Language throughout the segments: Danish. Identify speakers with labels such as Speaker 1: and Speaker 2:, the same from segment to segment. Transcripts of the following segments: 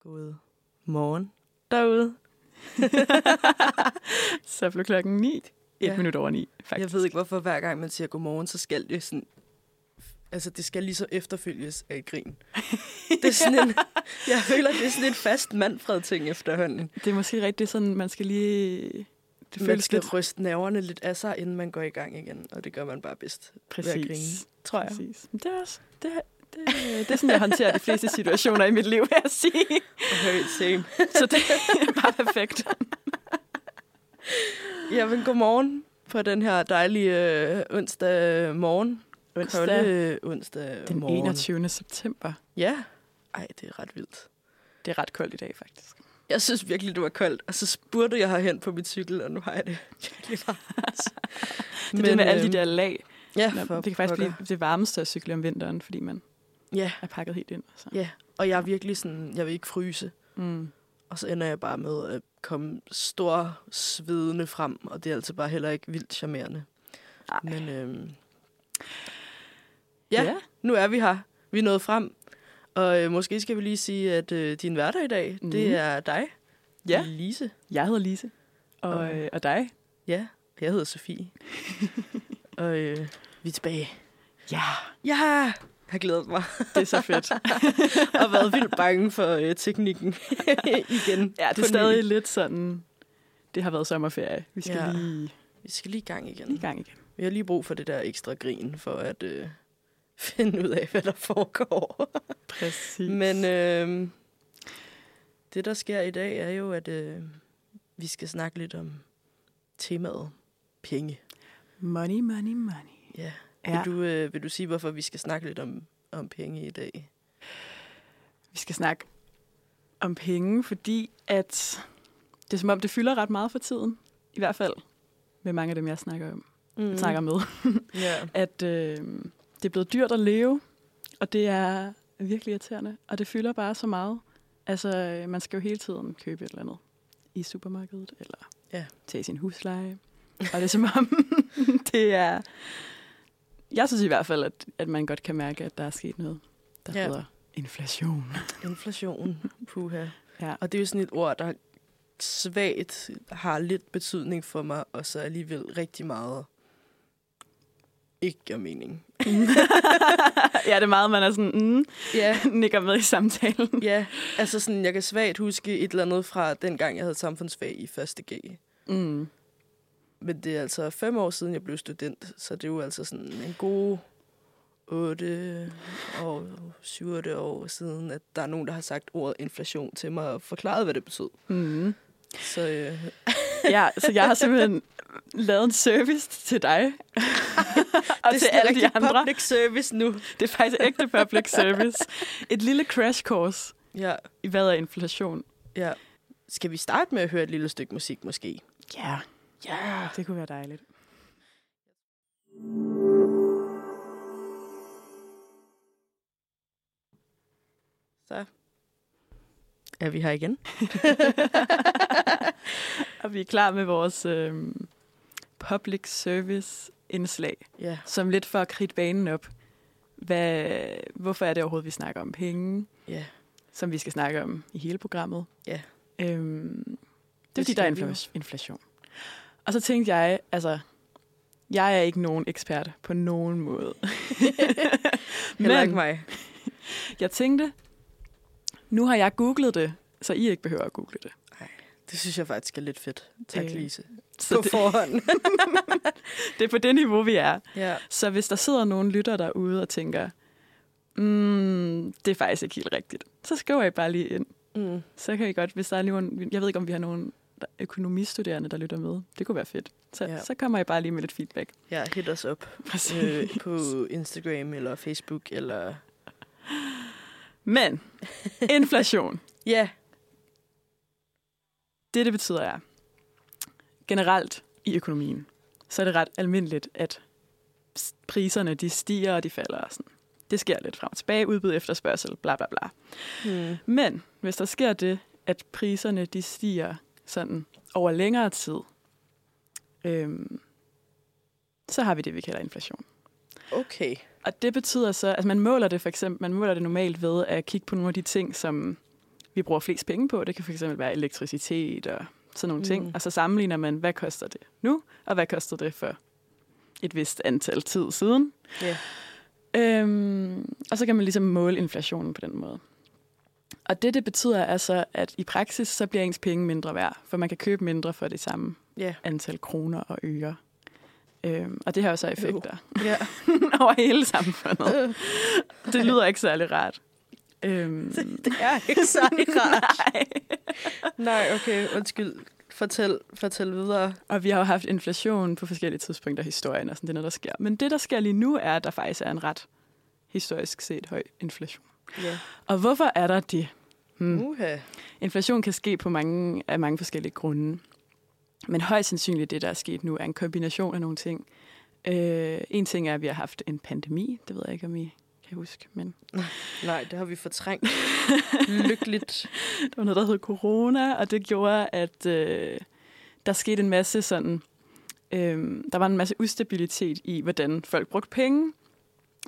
Speaker 1: God morgen derude.
Speaker 2: Så blev klokken 9. Et
Speaker 1: Ja.
Speaker 2: ja. minut over 9, faktisk.
Speaker 1: Jeg ved ikke, hvorfor hver gang man siger godmorgen, så skal det sådan... Altså, det skal lige så efterfølges af et grin. Det er sådan en, jeg føler, det er sådan en fast mandfred-ting efterhånden.
Speaker 2: Det er måske rigtigt sådan, man skal lige... Det
Speaker 1: Det man
Speaker 2: føles
Speaker 1: skal
Speaker 2: lidt
Speaker 1: lidt... ryste nerverne lidt af sig, inden man går i gang igen. Og det gør man bare bedst ved at grine,
Speaker 2: præcis.
Speaker 1: tror jeg.
Speaker 2: præcis. Men det er også... Det, det, det er sådan, jeg håndterer de fleste situationer i mit liv, vil jeg sige.
Speaker 1: Okay, same.
Speaker 2: Så det er bare perfekt.
Speaker 1: Jamen, godmorgen på den her dejlige øh, onsdag morgen.
Speaker 2: Onsdag.
Speaker 1: Kolde onsdag
Speaker 2: Den
Speaker 1: morgen.
Speaker 2: 21. september.
Speaker 1: Ja. Ej, det er ret vildt.
Speaker 2: Det er ret koldt i dag, faktisk.
Speaker 1: Jeg synes virkelig, det var koldt, og så spurgte jeg herhen på min cykel, og nu har jeg det virkelig varmt. øhm,
Speaker 2: Det er det med alle de der lag.
Speaker 1: Ja, for
Speaker 2: Nå, det kan faktisk
Speaker 1: pokker.
Speaker 2: blive det varmeste at cykle om vinteren, fordi man
Speaker 1: Ja,
Speaker 2: er pakket helt ind. Så.
Speaker 1: ja. Og jeg er virkelig sådan, jeg vil ikke fryse.
Speaker 2: Mm.
Speaker 1: Og så ender jeg bare med at komme stor svedende frem, og det er altså bare heller ikke vildt charmerende.
Speaker 2: Ej.
Speaker 1: Men øhm, ja, ja, nu er vi her. Vi er nået frem. Og øh, måske skal vi lige sige, at øh, din hverdag i dag, mm. det
Speaker 2: Mhm.
Speaker 1: er dig,
Speaker 2: Ja.
Speaker 1: Lise.
Speaker 2: Jeg hedder Lise. Og,
Speaker 1: Okay.
Speaker 2: øh, og dig?
Speaker 1: Ja, jeg hedder Sofie. og øh, vi er tilbage.
Speaker 2: Ja.
Speaker 1: Ja! Jeg har glædet mig
Speaker 2: Det er så fedt.
Speaker 1: og været vildt bange for øh, teknikken igen.
Speaker 2: Ja, det
Speaker 1: på
Speaker 2: er
Speaker 1: ny.
Speaker 2: stadig lidt sådan, det har været sommerferie. Vi skal
Speaker 1: Ja.
Speaker 2: ja. lige
Speaker 1: Vi skal lige i gang
Speaker 2: i
Speaker 1: igen.
Speaker 2: gang igen.
Speaker 1: Vi har lige brug for det der ekstra grin, for at øh, finde ud af, hvad der foregår.
Speaker 2: Præcis.
Speaker 1: Men øh, det, der sker i dag, er jo, at øh, vi skal snakke lidt om temaet penge.
Speaker 2: Money, money, money.
Speaker 1: Ja.
Speaker 2: Ja.
Speaker 1: Vil, du, øh, vil du sige, hvorfor vi skal snakke lidt om, om penge i dag?
Speaker 2: Vi skal snakke om penge, fordi at det er som om, det fylder ret meget for tiden. I hvert fald med mange af dem, jeg snakker, om, mm. snakker med.
Speaker 1: Mm-hmm. Ja.
Speaker 2: At øh, det er blevet dyrt at leve, og det er virkelig irriterende. Og det fylder bare så meget. Altså, øh, man skal jo hele tiden købe et eller andet i supermarkedet, eller
Speaker 1: Ja.
Speaker 2: tage sin husleje. Og det er som om, det er... Jeg synes i hvert fald, at, at man godt kan mærke, at der er sket noget, der
Speaker 1: Ja.
Speaker 2: ja. hedder inflation.
Speaker 1: Inflation. Puha.
Speaker 2: Ja.
Speaker 1: Og det er jo sådan et ord, der svagt har lidt betydning for mig, og så alligevel rigtig meget ikke gør mening.
Speaker 2: ja, det er meget, man er sådan, mm,
Speaker 1: Ja,
Speaker 2: nikker med i samtalen.
Speaker 1: ja. Altså sådan, jeg kan svagt huske et eller andet fra dengang, jeg havde samfundsfag i 1. G.
Speaker 2: Mm.
Speaker 1: Men det er altså fem år siden, jeg blev student, så det er jo altså sådan en god 8 og 7 år siden, at der er nogen, der har sagt ordet inflation til mig og forklaret, hvad det betød.
Speaker 2: Mm.
Speaker 1: Så øh,
Speaker 2: Ja, så jeg har simpelthen lavet en service til dig. og
Speaker 1: det er
Speaker 2: til
Speaker 1: sådan
Speaker 2: alle
Speaker 1: rigtig
Speaker 2: de andre.
Speaker 1: public service nu.
Speaker 2: Det er faktisk ægte public service. Et lille crash course
Speaker 1: Ja.
Speaker 2: i hvad er inflation.
Speaker 1: Ja. Skal vi starte med at høre et lille stykke musik, måske?
Speaker 2: Ja, yeah.
Speaker 1: Ja.
Speaker 2: Ah, det kunne være dejligt.
Speaker 1: Så er vi her igen.
Speaker 2: og vi er klar med vores øh, public service indslag,
Speaker 1: Ja.
Speaker 2: som lidt for at kridte banen op. Hvad, hvorfor er det overhovedet, vi snakker om penge?
Speaker 1: Ja.
Speaker 2: som vi skal snakke om i hele programmet.
Speaker 1: Ja.
Speaker 2: Øhm, det er
Speaker 1: Det
Speaker 2: fordi, der er
Speaker 1: skal vi jo.
Speaker 2: infla- inflation. Og så tænkte jeg, altså, jeg er ikke nogen ekspert på nogen måde.
Speaker 1: Heller ikke
Speaker 2: Men
Speaker 1: mig.
Speaker 2: jeg tænkte, nu har jeg googlet det, så I ikke behøver at google det.
Speaker 1: Det synes jeg faktisk er lidt fedt. Tak,
Speaker 2: Øh,
Speaker 1: Lise.
Speaker 2: Så
Speaker 1: På
Speaker 2: det,
Speaker 1: forhånd.
Speaker 2: det er på det niveau, vi er.
Speaker 1: ja.
Speaker 2: Så hvis der sidder nogen lytter derude og tænker, mm, det er faktisk ikke helt rigtigt, så skriver I bare lige ind.
Speaker 1: Mm.
Speaker 2: så kan I godt, hvis der er nogen, jeg ved ikke, om vi har nogen der- økonomistuderende, der lytter med. Det kunne være fedt. Så,
Speaker 1: Ja.
Speaker 2: ja. så kommer I bare lige med lidt feedback.
Speaker 1: Ja, hit os op
Speaker 2: Præcis.
Speaker 1: øh,
Speaker 2: Øh.
Speaker 1: på Instagram eller Facebook eller...
Speaker 2: Men inflation,
Speaker 1: Ja,
Speaker 2: det det betyder er, generelt i økonomien, så er det ret almindeligt, at s- priserne de stiger og de falder. Og sådan. Det sker lidt frem og tilbage, udbud efterspørgsel, bla bla bla.
Speaker 1: mm.
Speaker 2: Men hvis der sker det, at priserne de stiger sådan over længere tid, øhm, så har vi det, vi kalder inflation.
Speaker 1: okay.
Speaker 2: Og det betyder så, at man måler det for eksempel, man måler det normalt ved at kigge på nogle af de ting, som vi bruger flest penge på. Det kan fx være elektricitet og sådan nogle ting.
Speaker 1: Mhm.
Speaker 2: Og så sammenligner man, hvad koster det nu, og hvad koster det for et vist antal tid siden.
Speaker 1: Ja.
Speaker 2: Øhm, og så kan man ligesom måle inflationen på den måde. Og det, det betyder er så, at i praksis, så bliver ens penge mindre værd, for man kan købe mindre for det samme
Speaker 1: Ja.
Speaker 2: antal kroner og øre. Øhm, og det har jo så effekter
Speaker 1: ja.
Speaker 2: over hele
Speaker 1: Øh.
Speaker 2: samfundet. det lyder ikke særlig rart. Øhm,
Speaker 1: Det er ikke særlig rart.
Speaker 2: nej.
Speaker 1: Nej, okay, undskyld. Fortæl, fortæl videre.
Speaker 2: Og vi har jo haft inflation på forskellige tidspunkter i historien, og sådan, det er noget, der sker. Men det, der sker lige nu, er, at der faktisk er en ret historisk set høj inflation.
Speaker 1: Ja.
Speaker 2: Og hvorfor er der det? Hmm.
Speaker 1: Mm. Uha.
Speaker 2: Inflation kan ske på mange, af mange forskellige grunde. Men højst sandsynligt det, der er sket nu, er en kombination af nogle ting. Øh, en ting er, at vi har haft en pandemi. Det ved jeg ikke, om I kan huske, men Mm.
Speaker 1: Nej, det har vi fortrængt. Lykkeligt.
Speaker 2: der var noget, der hed corona, og det gjorde, at øh, der skete en masse sådan... Øh, der var en masse ustabilitet i, hvordan folk brugte penge.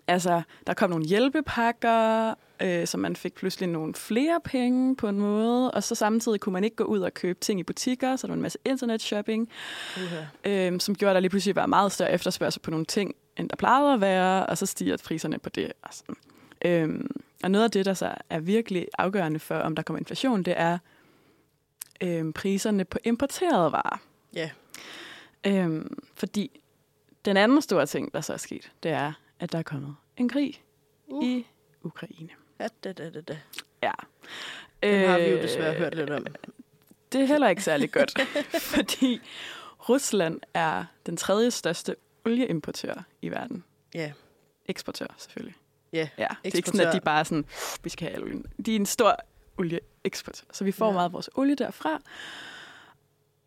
Speaker 2: Altså, der kom nogle hjælpepakker, øh, så man fik pludselig nogle flere penge på en måde, og så samtidig kunne man ikke gå ud og købe ting i butikker, så der var en masse internetshopping,
Speaker 1: Uha.
Speaker 2: øh, som gjorde, at der lige pludselig var meget større efterspørgsel på nogle ting, end der plejede at være, og så stiger priserne på det. Og, sådan. Øh, og noget af det, der så er virkelig afgørende for, om der kommer inflation, det er øh, priserne på importerede varer.
Speaker 1: Ja.
Speaker 2: Øh, fordi den anden store ting, der så er sket, det er, at der er kommet en krig
Speaker 1: Uh.
Speaker 2: uh. i Ukraine.
Speaker 1: Ja, da, da, da, da.
Speaker 2: Ja. Øh,
Speaker 1: Den har vi jo desværre hørt lidt om.
Speaker 2: Det er heller ikke særlig godt, fordi Rusland er den tredje største olieimportør i verden.
Speaker 1: Ja.
Speaker 2: Eksportør, selvfølgelig.
Speaker 1: Ja,
Speaker 2: ja. Det er ikke sådan, at de
Speaker 1: eksportør.
Speaker 2: bare er sådan, vi skal have al olien. De er en stor olieeksportør, så vi får
Speaker 1: Ja.
Speaker 2: ja. meget af vores olie derfra.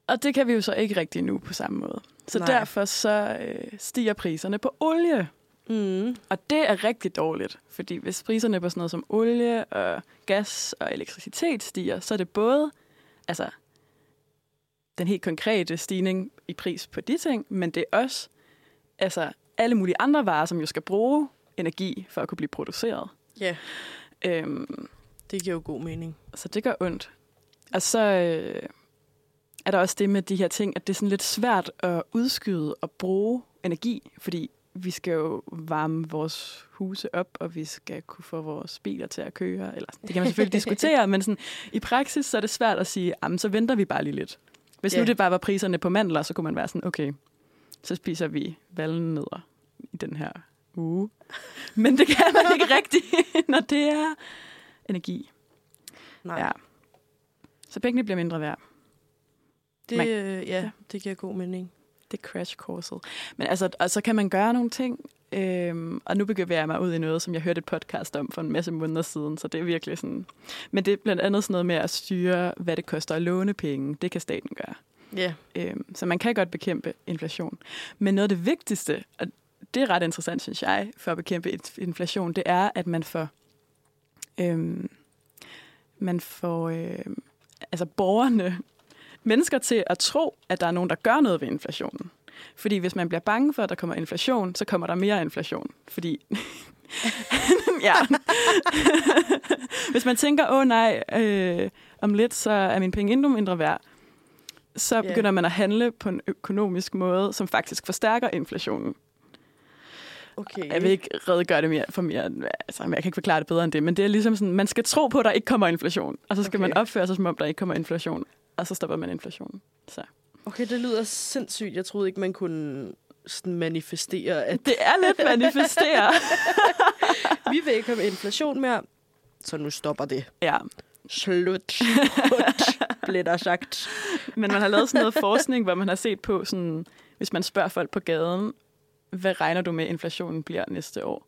Speaker 2: Og det kan vi jo så ikke rigtig nu på samme måde. Så
Speaker 1: Nej.
Speaker 2: Nej. derfor så øh, stiger priserne på olie.
Speaker 1: Mm.
Speaker 2: Og det er rigtig dårligt, fordi hvis priserne på sådan noget som olie og gas og elektricitet stiger, så er det både altså, den helt konkrete stigning i pris på de ting, men det er også altså, alle mulige andre varer, som jo skal bruge energi for at kunne blive produceret.
Speaker 1: Ja,
Speaker 2: Øhm,
Speaker 1: det giver jo god mening.
Speaker 2: så det gør ondt. Og så øh, er der også det med de her ting, at det er sådan lidt svært at udskyde og bruge energi, fordi vi skal jo varme vores huse op, og vi skal kunne få vores biler til at køre. Eller, det kan man selvfølgelig diskutere, men sådan, i praksis så er det svært at sige, "Jamen, så venter vi bare lige lidt. Hvis
Speaker 1: Ja.
Speaker 2: nu det bare var priserne på mandler, så kunne man være sådan, okay, så spiser vi valnødder i den her uge. Men det kan man ikke rigtigt, når det er energi.
Speaker 1: Nej,
Speaker 2: Ja. Så pengene bliver mindre værd.
Speaker 1: det,
Speaker 2: man-
Speaker 1: øh, ja,
Speaker 2: Ja.
Speaker 1: det giver god mening.
Speaker 2: Det er crash courset. Men altså, og så kan man gøre nogle ting. Øhm, og nu begiver jeg mig ud i noget, som jeg hørte et podcast om for en masse måneder siden, så det er virkelig sådan... Men det er blandt andet sådan noget med at styre, hvad det koster at låne penge. Det kan staten gøre.
Speaker 1: Ja,
Speaker 2: Øhm, så man kan godt bekæmpe inflation. Men noget af det vigtigste, og det er ret interessant, synes jeg, for at bekæmpe inf- inflation, det er, at man får, øhm, man får øhm, altså borgerne, mennesker til at tro, at der er nogen, der gør noget ved inflationen. Fordi hvis man bliver bange for, at der kommer inflation, så kommer der mere inflation. Fordi, ja. hvis man tænker, åh nej, øh, om lidt, så er mine penge endnu mindre værd, så
Speaker 1: Ja.
Speaker 2: begynder man at handle på en økonomisk måde, som faktisk forstærker inflationen.
Speaker 1: okay.
Speaker 2: Jeg vil ikke redegøre det mere for mere, altså, men jeg kan ikke forklare det bedre end det, men det er ligesom sådan, man skal tro på, at der ikke kommer inflation, og så skal
Speaker 1: Okay.
Speaker 2: man opføre sig, som om der ikke kommer inflation, og så stopper man inflationen. Så.
Speaker 1: Okay, det lyder sindssygt. Jeg troede ikke, man kunne sådan manifestere, at
Speaker 2: Det er lidt manifestere.
Speaker 1: vi vil ikke have inflation mere, så nu stopper det.
Speaker 2: ja,
Speaker 1: Slut. Slut, blev der sagt.
Speaker 2: men man har lavet sådan noget forskning, hvor man har set på, sådan, hvis man spørger folk på gaden, hvad regner du med, inflationen bliver næste år?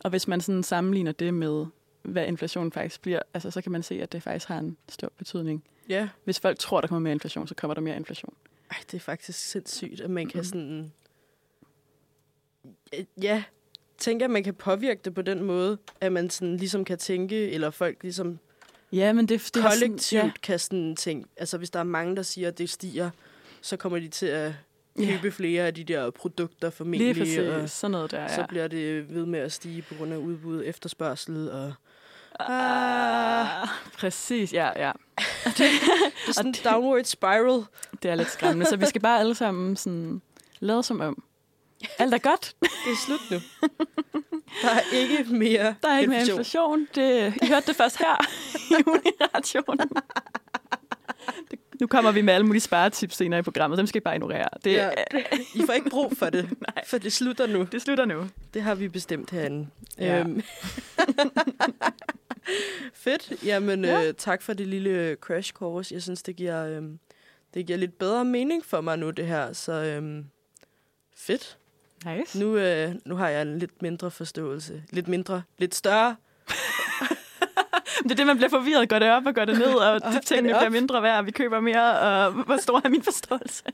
Speaker 2: Og hvis man sådan sammenligner det med, hvad inflationen faktisk bliver, altså, så kan man se, at det faktisk har en stor betydning.
Speaker 1: Ja.
Speaker 2: Hvis folk tror, der kommer mere inflation, så kommer der mere inflation.
Speaker 1: Ej, det er faktisk sindssygt, at man kan
Speaker 2: Mhm.
Speaker 1: sådan... Ja, tænker, at man kan påvirke det på den måde, at man sådan ligesom kan tænke, eller folk ligesom
Speaker 2: Ja, men det, det er sådan-
Speaker 1: kollektivt
Speaker 2: ja.
Speaker 1: kan sådan tænke, altså hvis der er mange, der siger, at det stiger, så kommer de til at
Speaker 2: Ja.
Speaker 1: købe flere af de der produkter formentlig.
Speaker 2: Lige præcis,
Speaker 1: og-
Speaker 2: sådan noget der, ja.
Speaker 1: så bliver det ved med at stige på grund af udbud, efterspørgsel og
Speaker 2: Ah, præcis, ja, ja.
Speaker 1: Det er sådan en downward spiral.
Speaker 2: Det er lidt skræmmende, så vi skal bare alle sammen sådan lade som om. Alt er godt.
Speaker 1: Det er slut nu. Der er ikke mere
Speaker 2: Der er ikke mere inflation. Det, I hørte det først her i Unirationen. Nu kommer vi med alle mulige sparetips senere i programmet. Dem skal I bare ignorere. Det, ja.
Speaker 1: Ja. I får ikke brug for det, for det slutter nu.
Speaker 2: det slutter nu.
Speaker 1: Det har vi bestemt herinde.
Speaker 2: Ja.
Speaker 1: Ja. Øhm. Fedt. Jamen,
Speaker 2: Ja.
Speaker 1: ja. øh, tak for det lille crash course. Jeg synes, det giver, øhm, det giver lidt bedre mening for mig nu, det her. Så øhm, fedt.
Speaker 2: Nice.
Speaker 1: Nu, øh, nu har jeg en lidt mindre forståelse. Lidt mindre. Lidt større.
Speaker 2: Det er det, man bliver forvirret. Går det op og går det ned, og de tingene
Speaker 1: op?
Speaker 2: bliver mindre værd, og vi køber mere, og hvor stor er min forståelse?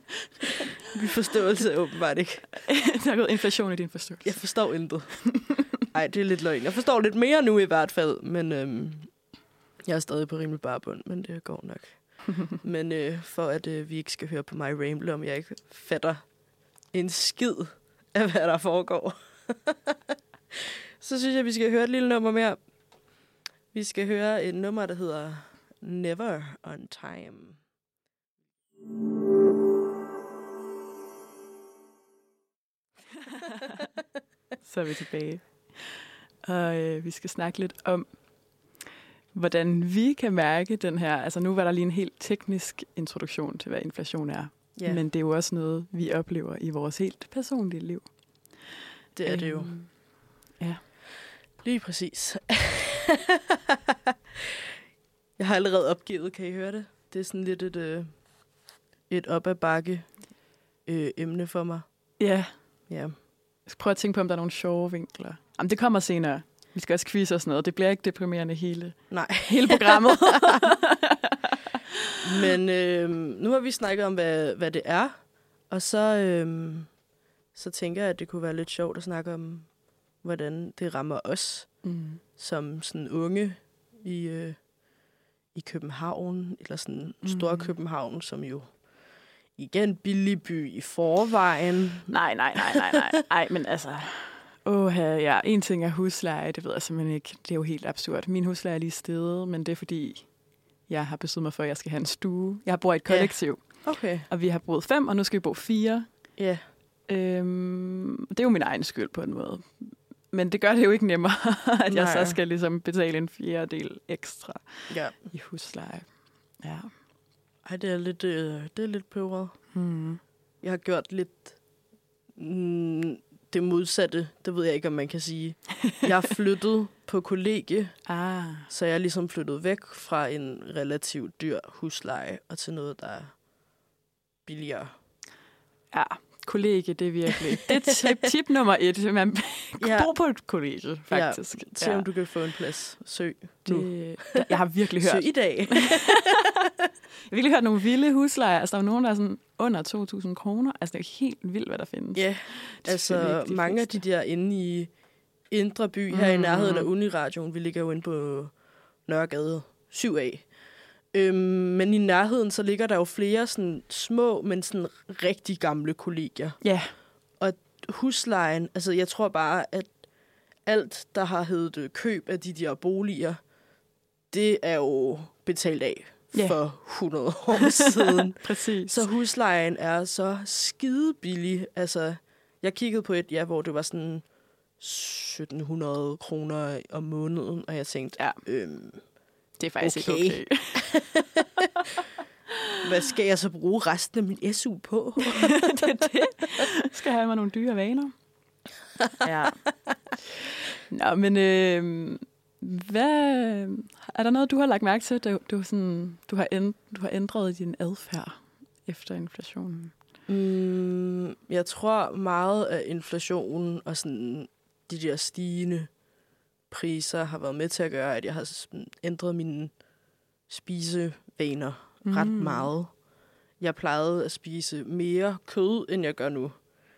Speaker 1: Min forståelse er åbenbart ikke.
Speaker 2: Der er gået inflation i din forståelse.
Speaker 1: Jeg forstår intet. Nej, det er lidt løgn. Jeg forstår lidt mere nu i hvert fald, men øhm, jeg er stadig på rimelig barbund, men det går nok. men øh, for at øh, vi ikke skal høre på mig ramble, om jeg ikke fatter en skid af, hvad der foregår, så synes jeg, vi skal høre et lille nummer mere. Vi skal høre et nummer, der hedder Never On Time.
Speaker 2: Så er vi tilbage. Og øh, vi skal snakke lidt om, hvordan vi kan mærke den her... Altså nu var der lige en helt teknisk introduktion til, hvad inflation er.
Speaker 1: Ja,
Speaker 2: Men
Speaker 1: men,
Speaker 2: det er jo også noget, vi oplever i vores helt personlige liv.
Speaker 1: det er det jo.
Speaker 2: Øhm,
Speaker 1: Lige præcis. jeg har allerede opgivet, kan I høre det? Det er sådan lidt et, øh, et op ad bakke øh, emne for mig.
Speaker 2: Ja,
Speaker 1: Ja.
Speaker 2: Jeg skal prøve at tænke på, om der er nogle sjove vinkler. Jamen, det kommer senere. Vi skal også quiz og sådan noget. Det bliver ikke deprimerende hele,
Speaker 1: Nej,
Speaker 2: hele programmet.
Speaker 1: men øh, nu har vi snakket om, hvad, hvad det er, og så, øh, så tænker jeg, at det kunne være lidt sjovt at snakke om, hvordan det rammer os
Speaker 2: mm.
Speaker 1: som sådan unge i, øh, i København, eller sådan stor
Speaker 2: Mhm.
Speaker 1: København, som jo igen billig by i forvejen.
Speaker 2: Nej, nej, nej, nej, nej. Ej, men altså... Åh, ja. En ting er husleje, det ved jeg simpelthen ikke. Det er jo helt absurd. Min husleje er lige stedet, men det er fordi, jeg har besluttet mig for, at jeg skal have en stue. Jeg bor i et
Speaker 1: Ja.
Speaker 2: kollektiv,
Speaker 1: Okay.
Speaker 2: og vi har boet fem, og nu skal vi bo fire.
Speaker 1: Ja. Yeah.
Speaker 2: Øhm, det er jo min egen skyld på en måde. Men det gør det jo ikke nemmere, at jeg
Speaker 1: Nej.
Speaker 2: så skal ligesom betale en fjerdedel ekstra.
Speaker 1: Ja.
Speaker 2: i husleje. Ja.
Speaker 1: Ej, det er lidt, øh, det er lidt peberet. Hmm.
Speaker 2: Mm.
Speaker 1: Jeg har gjort lidt mm, det modsatte. Det ved jeg ikke, om man kan sige. Jeg er flyttet på kollegie,
Speaker 2: Ah.
Speaker 1: så jeg er ligesom flyttet væk fra en relativt dyr husleje og til noget, der er billigere.
Speaker 2: Ja, kollegie, det er virkelig. Det er tip, tip nummer et. Man ja.
Speaker 1: Ja.
Speaker 2: bor på et kollegie, faktisk.
Speaker 1: Se om du kan få en plads. Søg nu.
Speaker 2: det, jeg har virkelig hørt,
Speaker 1: Søg i dag.
Speaker 2: jeg har virkelig hørt nogle vilde huslejer. Altså, der er jo nogen, der er sådan under 2.000 kroner. Altså, det er jo helt vildt, hvad der findes.
Speaker 1: ja,
Speaker 2: Det er selvfølgelig
Speaker 1: altså
Speaker 2: ikke de
Speaker 1: mange af de
Speaker 2: fleste.
Speaker 1: der inde i Indre By, her i
Speaker 2: Mhm.
Speaker 1: nærheden af Uniradioen, vi ligger jo inde på Nørregade 7A. Øhm, men i nærheden, så ligger der jo flere sådan små, men sådan rigtig gamle kollegier.
Speaker 2: Ja,
Speaker 1: Huslejen, altså jeg tror bare, at alt, der har heddet øh, køb af de der boliger, det er jo betalt af
Speaker 2: Ja.
Speaker 1: for 100 år siden.
Speaker 2: præcis.
Speaker 1: Så huslejen er så skide billig. Altså, jeg kiggede på et, ja, hvor det var sådan 1700 kroner om måneden, og jeg tænkte,
Speaker 2: Ja.
Speaker 1: ja. øhm,
Speaker 2: det er faktisk okay.
Speaker 1: okay.
Speaker 2: ikke okay.
Speaker 1: hvad skal jeg så bruge resten af min SU på?
Speaker 2: skal have mig nogle dyre vaner. ja. Nå, men øh, hvad, er der noget, du har lagt mærke til, du, du, sådan, du, har, ænd, du har ændret din adfærd efter inflationen?
Speaker 1: Mm, jeg tror meget af inflationen og sådan de der stigende priser har været med til at gøre, at jeg har sådan ændret mine spisevaner mm. ret meget. Jeg plejede at spise mere kød, end jeg gør nu.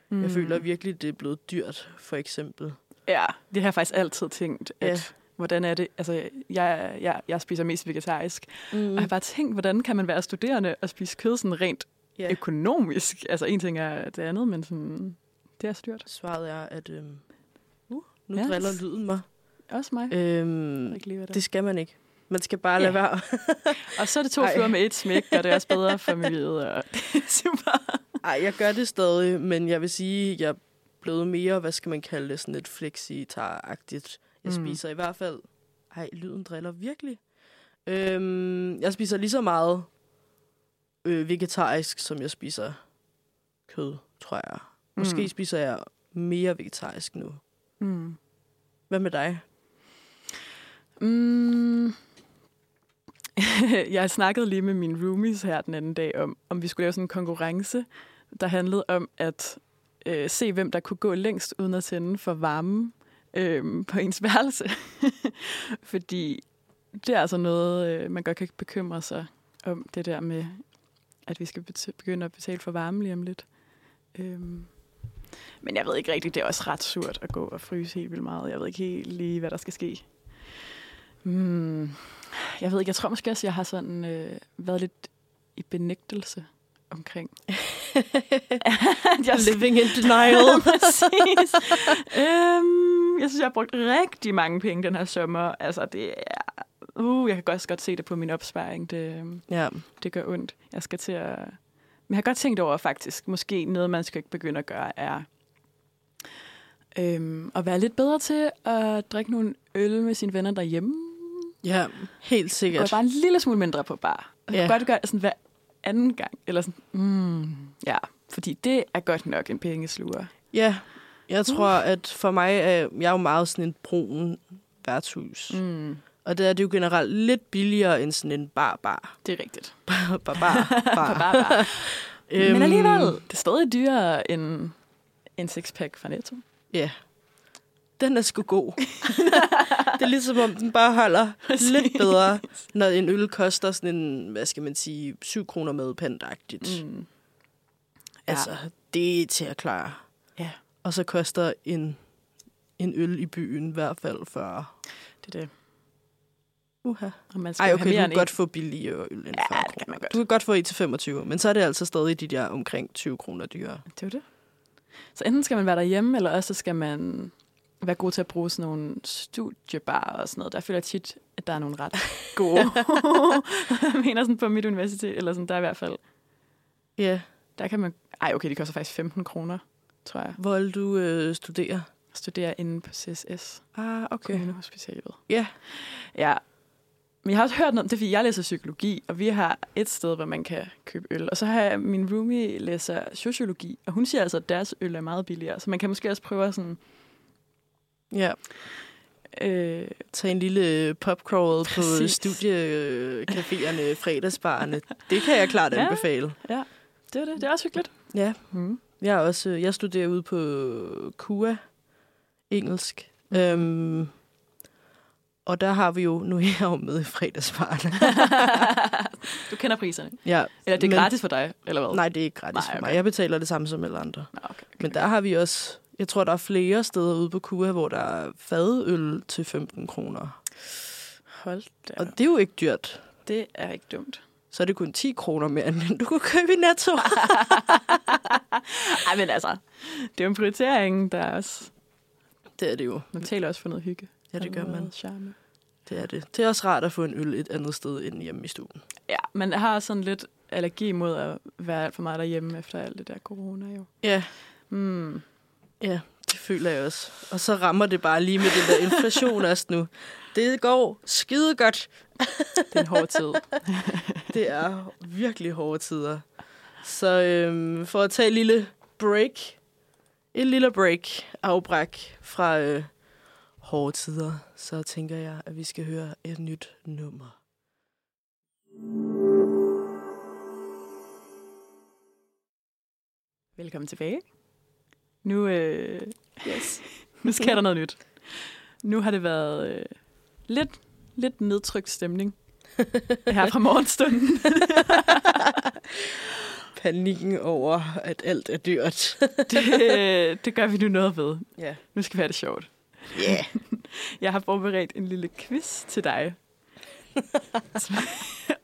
Speaker 1: Mm. Jeg føler virkelig, det er blevet dyrt, for eksempel.
Speaker 2: Ja, det har jeg faktisk altid tænkt, at
Speaker 1: Ja.
Speaker 2: hvordan er det, altså jeg, jeg, jeg spiser mest vegetarisk, mm. og
Speaker 1: Mm.
Speaker 2: jeg har bare tænkt, hvordan kan man være studerende og spise kød sådan rent
Speaker 1: Ja.
Speaker 2: økonomisk? Altså en ting er det andet, men sådan, det er styrt.
Speaker 1: Svaret er, at... Øhm, uh, nu
Speaker 2: Ja.
Speaker 1: driller lyden mig.
Speaker 2: Også mig.
Speaker 1: Øhm,
Speaker 2: Jeg ikke lige, hvad det
Speaker 1: det skal man ikke. Man skal bare
Speaker 2: Ja.
Speaker 1: lade være.
Speaker 2: er. Og så er det to
Speaker 1: Ej.
Speaker 2: fluer med et smæk, og det er også bedre for miljøet. Og det er super.
Speaker 1: Ej, jeg gør det stadig, men jeg vil sige, jeg er blevet mere, hvad skal man kalde det, sådan lidt flexitar-agtigt. Jeg
Speaker 2: Mm.
Speaker 1: mm. spiser i hvert fald... Ej, lyden driller virkelig. Øhm, jeg spiser lige så meget øh, vegetarisk, som jeg spiser kød, tror jeg. Måske
Speaker 2: Mm.
Speaker 1: mm. spiser jeg mere vegetarisk nu.
Speaker 2: Mm.
Speaker 1: Hvad med dig?
Speaker 2: Mm. jeg snakkede lige med mine roomies her den anden dag om, om vi skulle lave sådan en konkurrence, der handlede om at øh, se, hvem der kunne gå længst uden at tænde for varmen øh, på ens værelse. Fordi det er altså noget, øh, man godt kan bekymre sig om, det der med, at vi skal bet- begynde at betale for varme lige om lidt. Øh. Men jeg ved ikke rigtigt, det er også ret surt at gå og fryse helt vildt meget. Jeg ved ikke helt lige, hvad der skal ske. Mm, jeg ved ikke, jeg tror måske også, jeg har sådan øh, været lidt i benægtelse omkring. jeg
Speaker 1: Living in denial.
Speaker 2: Præcis. øhm, jeg synes, jeg har brugt rigtig mange penge den her sommer. Altså, det er... Uh, jeg kan godt, godt se det på min opsparing. Det, øhm,
Speaker 1: ja.
Speaker 2: det gør ondt. Jeg skal til at... Men jeg har godt tænkt over faktisk, måske noget, man skal ikke begynde at gøre, er øhm, at være lidt bedre til at drikke nogle øl med sine venner derhjemme.
Speaker 1: ja, helt
Speaker 2: Gå
Speaker 1: sikkert.
Speaker 2: bare en lille smule mindre på bar. Jeg
Speaker 1: Ja.
Speaker 2: kan godt gøre det sådan hver anden gang. Eller sådan, mm, ja, fordi det er godt nok en pengesluger.
Speaker 1: Ja, jeg tror, at for mig er jeg er jo meget sådan en brun værtshus. Mm.
Speaker 2: Mm,
Speaker 1: Og der er det jo generelt lidt billigere end sådan en bar-bar.
Speaker 2: det er rigtigt.
Speaker 1: Bar, bar, bar,
Speaker 2: På
Speaker 1: bar.
Speaker 2: bar, bar. Men
Speaker 1: Ah. Øhm,
Speaker 2: alligevel, det er stadig dyrere end en sixpack fra Netto.
Speaker 1: Ja. Den er sgu god. det er ligesom om, den bare holder Præcis. lidt bedre, når en øl koster sådan en, hvad skal man sige, 7 kroner med pandagtigt. Mm.
Speaker 2: Mm.
Speaker 1: Altså, det er til at klare.
Speaker 2: Ja.
Speaker 1: Og så koster en, en øl i byen i hvert fald 40.
Speaker 2: Det er det.
Speaker 1: Uha.
Speaker 2: Og man skal
Speaker 1: Ej,
Speaker 2: jo
Speaker 1: okay,
Speaker 2: have
Speaker 1: du
Speaker 2: mere
Speaker 1: kan
Speaker 2: end en.
Speaker 1: godt få billigere øl end
Speaker 2: Ja,
Speaker 1: 40
Speaker 2: det kan man godt.
Speaker 1: Du kan godt få en til 25, men så er det altså stadig de der omkring 20 kroner dyrere.
Speaker 2: Det er jo det. Så enten skal man være derhjemme, eller også så skal man være god til at bruge sådan nogle studiebarer og sådan noget. Der føler jeg tit, at der er nogle ret gode. jeg mener sådan på mit universitet, eller sådan der i hvert fald.
Speaker 1: Ja.
Speaker 2: Der kan man... Ej, okay, det koster faktisk 15 kroner, tror jeg.
Speaker 1: Hvor vil du øh, studere?
Speaker 2: at Studere inde på CSS,
Speaker 1: Ah,
Speaker 2: Kommunehospitalet.
Speaker 1: Ja.
Speaker 2: Ja. Men jeg har også hørt noget om det, er, fordi jeg læser psykologi, og vi har et sted, hvor man kan købe øl. Og så har jeg, min roomie læser sociologi, og hun siger altså, at deres øl er meget billigere. Så man kan måske også prøve at sådan
Speaker 1: Ja,
Speaker 2: Øh,
Speaker 1: tag en lille popcrawl på
Speaker 2: Præcis.
Speaker 1: studiecaféerne, fredagsbarerne. Det kan jeg klart
Speaker 2: Ja.
Speaker 1: anbefale.
Speaker 2: det er det. Det er også hyggeligt.
Speaker 1: Ja,
Speaker 2: Mm.
Speaker 1: jeg, er også, øh, jeg studerer ude på KUA, engelsk. Mm. Øhm, og der har vi jo, nu er jeg jo med i fredagsbarerne.
Speaker 2: du kender priserne.
Speaker 1: ja,
Speaker 2: Eller det er
Speaker 1: Men-
Speaker 2: gratis for dig, eller hvad?
Speaker 1: nej, det er ikke gratis
Speaker 2: Nej,
Speaker 1: for mig.
Speaker 2: okay.
Speaker 1: Jeg betaler det samme som alle andre.
Speaker 2: Nå, okay, okay.
Speaker 1: Men der har vi også, jeg tror, der er flere steder ude på Kua, hvor der er fadøl til 15 kroner.
Speaker 2: Hold da.
Speaker 1: Og
Speaker 2: op.
Speaker 1: det er jo ikke dyrt.
Speaker 2: det er ikke dumt.
Speaker 1: Så er det kun 10 kroner mere, end den du kunne købe i Netto.
Speaker 2: Ej, men altså, det er jo en prioritering, der er også...
Speaker 1: Det er det jo.
Speaker 2: Man taler også for noget hygge.
Speaker 1: Ja, det
Speaker 2: Og
Speaker 1: gør
Speaker 2: noget
Speaker 1: man.
Speaker 2: Charme.
Speaker 1: Det er det. Det er også rart at få en øl et andet sted end hjemme i stuen.
Speaker 2: Ja, man har sådan lidt allergi mod at være alt for meget derhjemme efter alt det der corona, jo.
Speaker 1: Ja,
Speaker 2: Mm.
Speaker 1: ja, det føler jeg også. Og så rammer det bare lige med den der inflation også nu. Det går skide godt.
Speaker 2: Det er en hård tid.
Speaker 1: Det er virkelig hårde tider. Så øhm, for at tage et lille break, et lille break, afbræk fra øh, hårde tider, så tænker jeg, at vi skal høre et nyt nummer.
Speaker 2: Velkommen tilbage. Nu, øh,
Speaker 1: Yes.
Speaker 2: nu sker der noget nyt. Nu har det været øh, lidt, lidt nedtrykt stemning her fra morgenstunden.
Speaker 1: Panikken over, at alt er dyrt.
Speaker 2: det, det gør vi nu noget ved.
Speaker 1: Ja.
Speaker 2: Nu skal vi have det sjovt.
Speaker 1: Yeah.
Speaker 2: Jeg har forberedt en lille quiz til dig.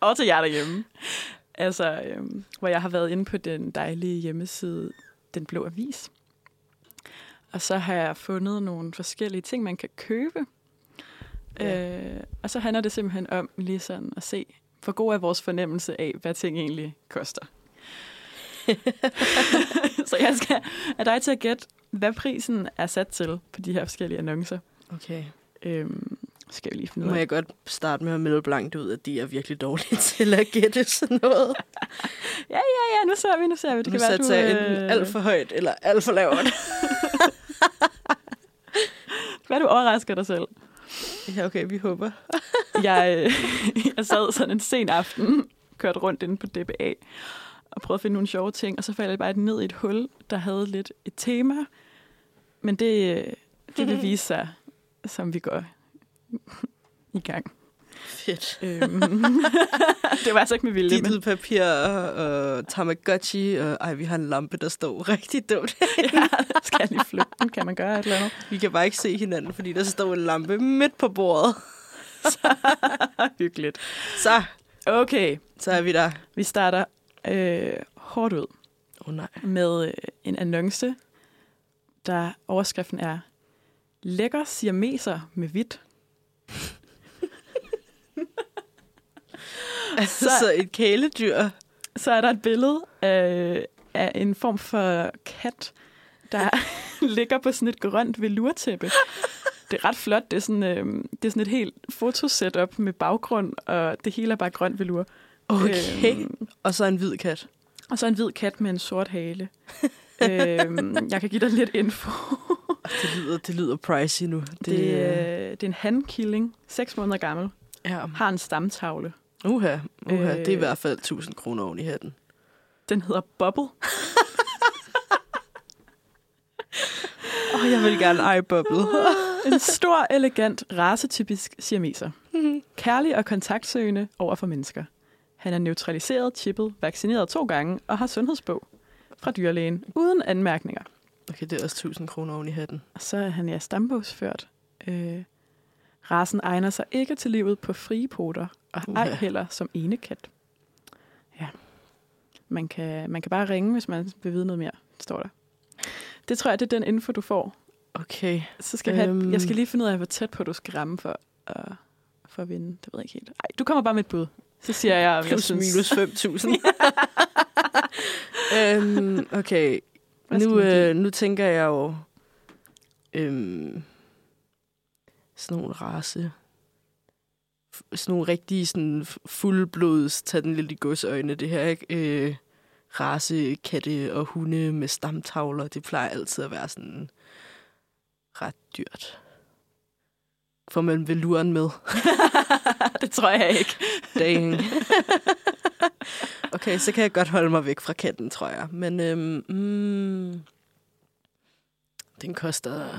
Speaker 2: og til jer derhjemme. Altså, øhm, hvor jeg har været inde på den dejlige hjemmeside, Den Blå Avis. Og så har jeg fundet nogle forskellige ting, man kan købe. Ja. Øh, og så handler det simpelthen om lige sådan at se, hvor god er vores fornemmelse af, hvad ting egentlig koster. så jeg skal have dig til at gætte, hvad prisen er sat til på de her forskellige annoncer.
Speaker 1: Okay.
Speaker 2: Øhm, skal vi lige finde ud
Speaker 1: Må
Speaker 2: af.
Speaker 1: jeg godt starte med at melde blankt ud, at de er virkelig dårlige til at gætte sådan noget.
Speaker 2: Ja, nu ser vi, nu ser vi. Det
Speaker 1: nu
Speaker 2: kan være,
Speaker 1: satte
Speaker 2: du,
Speaker 1: jeg enten
Speaker 2: øh,
Speaker 1: alt for højt eller alt for lavt.
Speaker 2: det kan være, du overrasker dig selv.
Speaker 1: ja, okay, vi håber.
Speaker 2: jeg, øh, jeg sad sådan en sen aften, kørte rundt inde på DBA, og prøvede at finde nogle sjove ting, og så faldt jeg bare ned i et hul, der havde lidt et tema. Men det, øh, det vil vise sig, som vi går i gang.
Speaker 1: Fedt.
Speaker 2: Øhm, det var altså ikke med vilje, men
Speaker 1: Dittet papir og og Tamagotchi. Og, ej, vi har en lampe, der står rigtig dumt.
Speaker 2: ja, skal jeg lige flytte den? Kan man gøre et eller andet?
Speaker 1: vi kan bare ikke se hinanden, fordi der står en lampe midt på bordet.
Speaker 2: Hyggeligt.
Speaker 1: Så,
Speaker 2: Okay,
Speaker 1: så er vi der.
Speaker 2: vi starter øh, hårdt ud.
Speaker 1: Åh oh, nej.
Speaker 2: med øh, en annonce, der overskriften er Lækker siameser med hvidt.
Speaker 1: Så,
Speaker 2: Så-
Speaker 1: så et kæledyr.
Speaker 2: Så er der et billede af, af en form for kat, der ligger på sådan et grønt velurtæppe. Det er ret flot. Det er sådan, øh, det er sådan et helt fotosetup med baggrund, og det hele er bare grønt velur.
Speaker 1: Okay.
Speaker 2: Øhm,
Speaker 1: Og så en hvid kat.
Speaker 2: Og så en hvid kat med en sort hale. øhm, jeg kan give dig lidt info.
Speaker 1: Det lyder, det lyder pricey nu. Det,
Speaker 2: Det, det, øh, det er en handkilling, seks måneder gammel,
Speaker 1: ja.
Speaker 2: har en stamtavle.
Speaker 1: Uha, uha. Øh. Det er i
Speaker 2: Øh.
Speaker 1: hvert fald 1000 kroner oven i hatten.
Speaker 2: Den hedder Bubble.
Speaker 1: Åh, oh, jeg vil gerne eje bobbet.
Speaker 2: En stor, elegant, racetypisk siameser. Kærlig og kontaktsøgende over for mennesker. Han er neutraliseret, chippet, vaccineret to gange og har sundhedsbog fra dyrlægen uden anmærkninger.
Speaker 1: Okay, det er også 1000 kroner oven i hatten.
Speaker 2: Og så er han ja stambogsført. Øh, rasen egner sig ikke til livet på frie poter, og ej
Speaker 1: Uha.
Speaker 2: heller som ene kat. Ja. Man kan, man kan bare ringe, hvis man vil vide noget mere, står der. Det tror jeg, det er den info, du får.
Speaker 1: Okay.
Speaker 2: Så skal øhm.
Speaker 1: Øhm.
Speaker 2: have, jeg skal lige finde ud af, hvor tæt på du skal ramme for, uh, for at vinde. Det ved jeg ikke helt. Ej, du kommer bare med et bud. Så siger jeg, om jeg
Speaker 1: Plus
Speaker 2: synes...
Speaker 1: minus 5000. øhm, okay,
Speaker 2: Hvad skal
Speaker 1: nu,
Speaker 2: man give?
Speaker 1: øh, nu tænker jeg jo... Øhm, sådan nogle race... f- Sådan nogle rigtige sådan f- fuldblods, tag den lidt i godsøjne, det her, ikke? Øh, race, katte og hunde med stamtavler, det plejer altid at være sådan ret dyrt. Får man veluren med?
Speaker 2: det tror jeg ikke.
Speaker 1: Dang. okay, så kan jeg godt holde mig væk fra katten, tror jeg. Men øhm, mm, den koster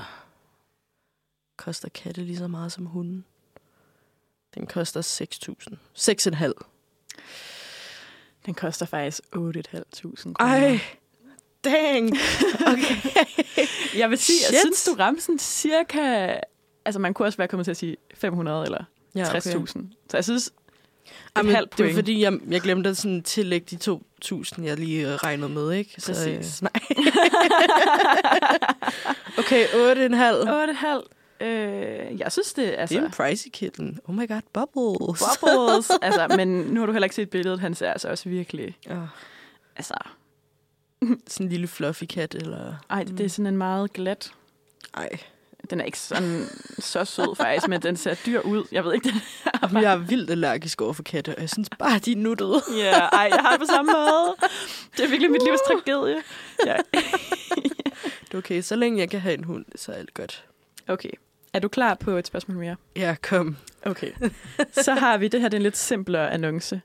Speaker 1: koster katte lige så meget som hunden. Den koster 6.000. 6,5.
Speaker 2: Den koster faktisk 8.500 kroner.
Speaker 1: Ej, dang. Okay.
Speaker 2: Jeg vil sige,
Speaker 1: Shit.
Speaker 2: jeg synes, du ramte sådan cirka... Altså, man kunne også være kommet til at sige 500 eller
Speaker 1: Ja,
Speaker 2: 60.000. Så jeg synes,
Speaker 1: Ej, men
Speaker 2: et halvt
Speaker 1: Det var
Speaker 2: point.
Speaker 1: fordi, jeg, jeg glemte at sådan tillægge de 2.000, jeg lige øh, regnede med, ikke? øh,
Speaker 2: Præcis.
Speaker 1: nej. øh, okay, 8,5.
Speaker 2: 8,5... Øh, jeg synes, det er...
Speaker 1: Det er en
Speaker 2: Altså,
Speaker 1: pricey kitten. Oh my god, bubbles.
Speaker 2: bubbles. altså, men nu har du heller ikke set billedet. Han ser altså også virkelig...
Speaker 1: Ja.
Speaker 2: Altså,
Speaker 1: Sådan en lille fluffy kat, eller... Mm.
Speaker 2: ej, det er sådan en meget glat
Speaker 1: Ej,
Speaker 2: Den er ikke sådan så sød faktisk, men den ser dyr ud. Jeg ved ikke, den
Speaker 1: jeg er vildt allergisk over for katte, og jeg synes bare, de er nuttede.
Speaker 2: Ja, ej, jeg har det på samme måde. Det er virkelig mit livs
Speaker 1: Uh.
Speaker 2: tragedie. Ja.
Speaker 1: Det er Okay, så længe jeg kan have en hund, så er alt godt.
Speaker 2: Okay, er du klar på et spørgsmål mere?
Speaker 1: Ja, kom.
Speaker 2: Okay. Så har vi, det her det er en lidt simplere annonce.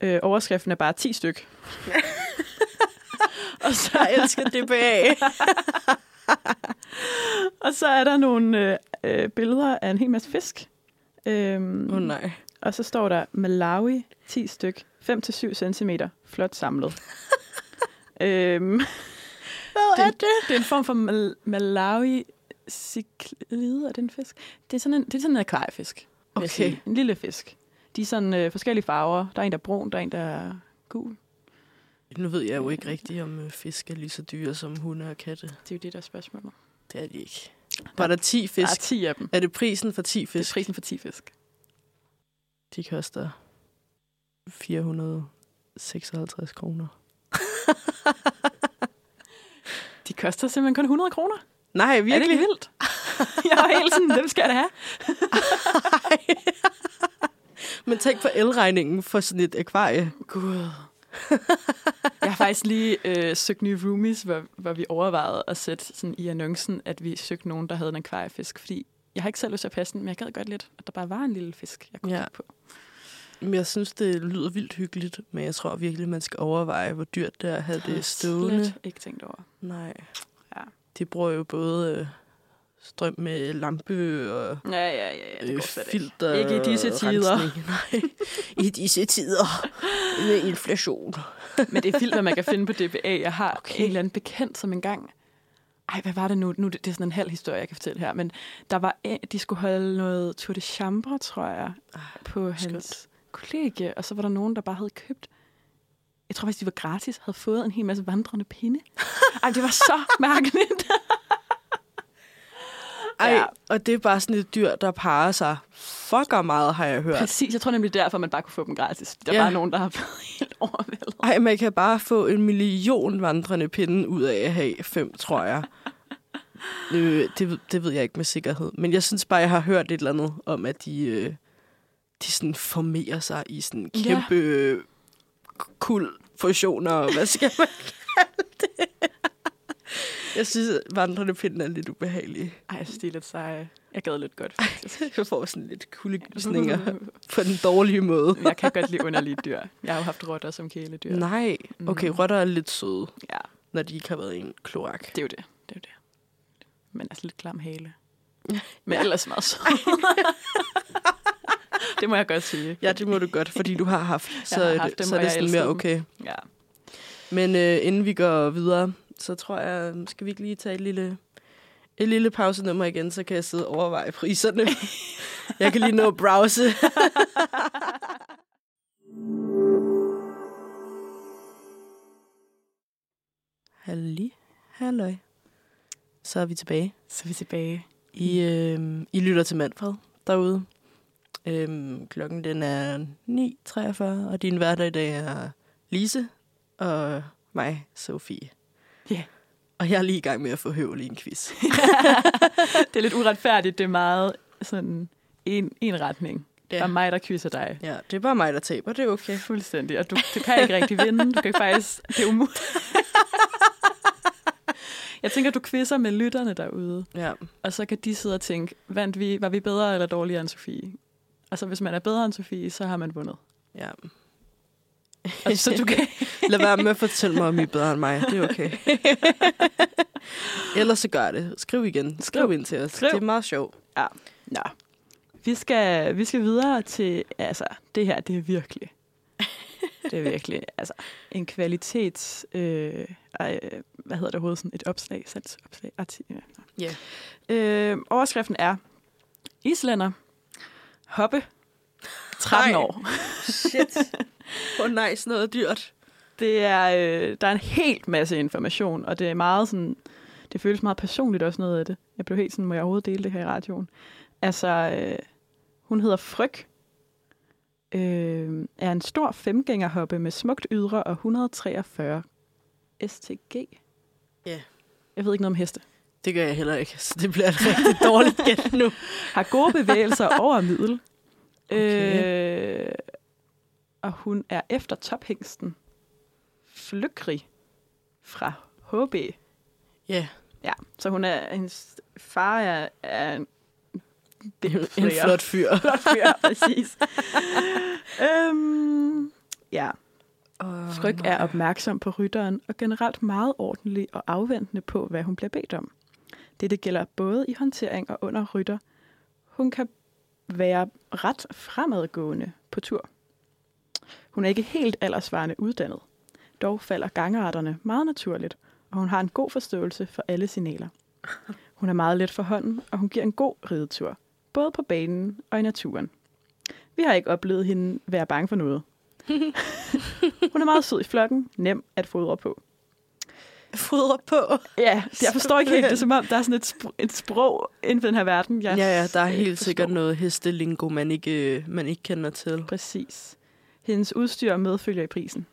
Speaker 2: Øh, overskriften er bare 10 styk. og, så,
Speaker 1: Jeg elsker DBA.
Speaker 2: og så er der nogle øh, øh, billeder af en hel masse fisk. Øhm,
Speaker 1: Åh oh, nej.
Speaker 2: Og så står der Malawi, 10 styk, 5-7 cm, flot samlet. øhm,
Speaker 1: Hvad
Speaker 2: er det er en form for mal- Malawi ciklide, er det en fisk? Det er sådan en, det er sådan en akvariefisk, vil
Speaker 1: Okay.
Speaker 2: jeg sige. En lille fisk. De er sådan øh, forskellige farver. Der er en, der er brun, der er en, der er gul.
Speaker 1: Nu ved jeg jo ikke rigtigt, om øh, fisk er lige så dyre som hunde og katte.
Speaker 2: Det er jo det, der er spørgsmålet.
Speaker 1: Det er de ikke. Var der 10
Speaker 2: Der er
Speaker 1: fisk?
Speaker 2: 10 af dem.
Speaker 1: Er det prisen for 10
Speaker 2: Det er
Speaker 1: fisk?
Speaker 2: prisen for 10 fisk.
Speaker 1: De koster 456 kroner.
Speaker 2: De koster simpelthen kun 100 kroner.
Speaker 1: Nej,
Speaker 2: Er det
Speaker 1: virkelig?
Speaker 2: ikke vildt? jeg var helt sådan, dem skal jeg da have.
Speaker 1: Men tænk på elregningen for sådan et akvarie.
Speaker 2: Gud. jeg har faktisk lige øh, søgt nye roomies, hvor, hvor vi overvejede at sætte sådan i annoncen, at vi søgte nogen, der havde en akvariefisk. Fordi jeg har ikke selv lyst til at passe den, men jeg gad godt lidt, at der bare var en lille fisk, jeg kunne
Speaker 1: Ja.
Speaker 2: ja. på.
Speaker 1: Men jeg synes, det lyder vildt hyggeligt, men jeg tror virkelig, man skal overveje, hvor dyrt det er at have
Speaker 2: har
Speaker 1: det
Speaker 2: jeg
Speaker 1: stående.
Speaker 2: Slet ikke tænkt over.
Speaker 1: Nej.
Speaker 2: Ja.
Speaker 1: De bruger jo både øh, strøm med lampe og
Speaker 2: Ja, ja, ja, ja det
Speaker 1: øh,
Speaker 2: går slet ikke.
Speaker 1: filter.
Speaker 2: Ikke i disse
Speaker 1: og
Speaker 2: tider.
Speaker 1: rensning. Nej, i disse tider med inflation.
Speaker 2: Men det er filter, man kan finde på DBA. Jeg har okay. en eller anden bekendt, som engang... Ej, hvad var det nu? nu er det, det er sådan en halv historie, jeg kan fortælle her. Men der var, en- de skulle holde noget Tour de Chambre, tror jeg, på hans
Speaker 1: skønt.
Speaker 2: kollegie. Og så var der nogen, der bare havde købt... Jeg tror faktisk, de var gratis, havde fået en hel masse vandrende pinde. Ej, det var så mærkeligt.
Speaker 1: Ej,
Speaker 2: Ja.
Speaker 1: og det er bare sådan et dyr, der parer sig fucker meget, har jeg hørt.
Speaker 2: Præcis, jeg tror nemlig derfor, man bare kunne få dem gratis. Der
Speaker 1: Ja.
Speaker 2: var nogen, der har været helt overvældet.
Speaker 1: Ej, man kan bare få en million vandrende pinde ud af at have fem, tror jeg. øh, det, ved- det ved jeg ikke med sikkerhed. Men jeg synes bare, jeg har hørt et eller andet om, at de, øh, de sådan formerer sig i sådan
Speaker 2: Ja.
Speaker 1: kæmpe øh, kul fusioner. og Hvad skal man kalde det? Jeg synes, at vandrende pinde er lidt ubehagelige.
Speaker 2: Ej, altså, de er lidt seje. Jeg gad lidt godt, faktisk.
Speaker 1: Jeg får sådan lidt kuldegysninger på den dårlige måde.
Speaker 2: Men Jeg kan godt lide underlige dyr. Jeg har jo haft rotter som kæledyr.
Speaker 1: Nej. Okay, rotter er lidt søde,
Speaker 2: Mm. Ja,
Speaker 1: når de ikke har været i en kloak.
Speaker 2: det er jo det. det, er jo det. Men altså lidt klam hale. Men ellers meget sød. det må jeg godt sige.
Speaker 1: Ja, det må du godt, fordi du har haft. Så,
Speaker 2: har
Speaker 1: er
Speaker 2: haft
Speaker 1: det-
Speaker 2: dem,
Speaker 1: så er
Speaker 2: og
Speaker 1: det
Speaker 2: jeg
Speaker 1: sådan
Speaker 2: elsker
Speaker 1: mere
Speaker 2: dem.
Speaker 1: okay.
Speaker 2: Ja.
Speaker 1: Men øh, inden vi går videre, så tror jeg, øh, skal vi ikke lige tage et lille, et lille pausenummer igen, så kan jeg sidde og overveje priserne. jeg kan lige nå at browse. Halli, halløj. Så er vi tilbage.
Speaker 2: Så er vi tilbage.
Speaker 1: I, øh, I lytter til Manfred derude. Øhm, klokken den er 9.43, og din hverdag i dag er Lise og mig, Sofie.
Speaker 2: Ja.
Speaker 1: Og jeg er lige i gang med at få høvl i en quiz.
Speaker 2: Det er lidt uretfærdigt. Det er meget sådan en, en retning. Ja. Der er mig, der kysser dig.
Speaker 1: ja, det er bare mig, der taber, det er okay.
Speaker 2: Fuldstændig. Og du, du kan ikke rigtig vinde. Du kan faktisk... Det er umuligt. Jeg tænker, du quizzer med lytterne derude.
Speaker 1: Ja,
Speaker 2: Og så kan de sidde og tænke, vandt vi, var vi bedre eller dårligere end Sofie? Og så hvis man er bedre end Sofie, så har man vundet.
Speaker 1: ja.
Speaker 2: Og så du kan...
Speaker 1: Lad være med at fortælle mig, om I er bedre end mig. Det er okay. Ellers så gør det. Skriv igen. Skriv
Speaker 2: Skriv.
Speaker 1: ind til os.
Speaker 2: Skriv.
Speaker 1: Det er meget sjovt.
Speaker 2: Nå. Vi skal, vi skal videre til... Altså, det her, det er virkelig... Det er virkelig altså, en kvalitets... Øh, ej, øh, hvad hedder det overhovedet? Sådan et opslag, salgsopslag. arti- ja, nå.
Speaker 1: Ja.
Speaker 2: Øh, overskriften er... Islænder. Hoppe. 13
Speaker 1: Ej.
Speaker 2: år.
Speaker 1: Shit. Åh oh, nej, sådan noget er dyrt.
Speaker 2: Det er, øh, der er en helt masse information, og det er meget sådan, det føles meget personligt også noget af det. Jeg blev helt sådan, må jeg overhovedet dele det her i radioen? Altså, øh, hun hedder Fryg, øh, er en stor femgængerhoppe med smukt ydre og 143 STG.
Speaker 1: Ja.
Speaker 2: Jeg ved ikke noget om heste.
Speaker 1: Det gør jeg heller ikke, så det bliver et rigtig dårligt gæt nu.
Speaker 2: Har gode bevægelser over middel.
Speaker 1: Okay.
Speaker 2: Øh, og hun er efter tophængsten Flygri fra HB.
Speaker 1: Ja,
Speaker 2: Ja, så hun er, hendes far er, er en, det
Speaker 1: en, en flot fyr.
Speaker 2: flot fyr, præcis. øhm, ja,
Speaker 1: Oh,
Speaker 2: Fryg er opmærksom på rytteren og generelt meget ordentlig og afventende på, hvad hun bliver bedt om. Dette gælder både i håndtering og under rytter. Hun kan være ret fremadgående på tur. Hun er ikke helt aldersvarende uddannet. Dog falder gangarterne meget naturligt, og hun har en god forståelse for alle signaler. Hun er meget let for hånden, og hun giver en god ridetur, både på banen og i naturen. Vi har ikke oplevet hende være bange for noget. Hun er meget sød i flokken, nem at fodre på.
Speaker 3: fodrer på.
Speaker 2: Ja, jeg forstår ikke helt. Det er som om, der er sådan et, spr- et sprog inden for den her verden. Jeg
Speaker 1: Ja, ja, der er
Speaker 2: ikke
Speaker 1: helt sikkert
Speaker 2: forstår.
Speaker 1: noget hestelingo, man ikke, øh, man ikke kender til.
Speaker 2: Præcis. Hendes udstyr medfølger i prisen.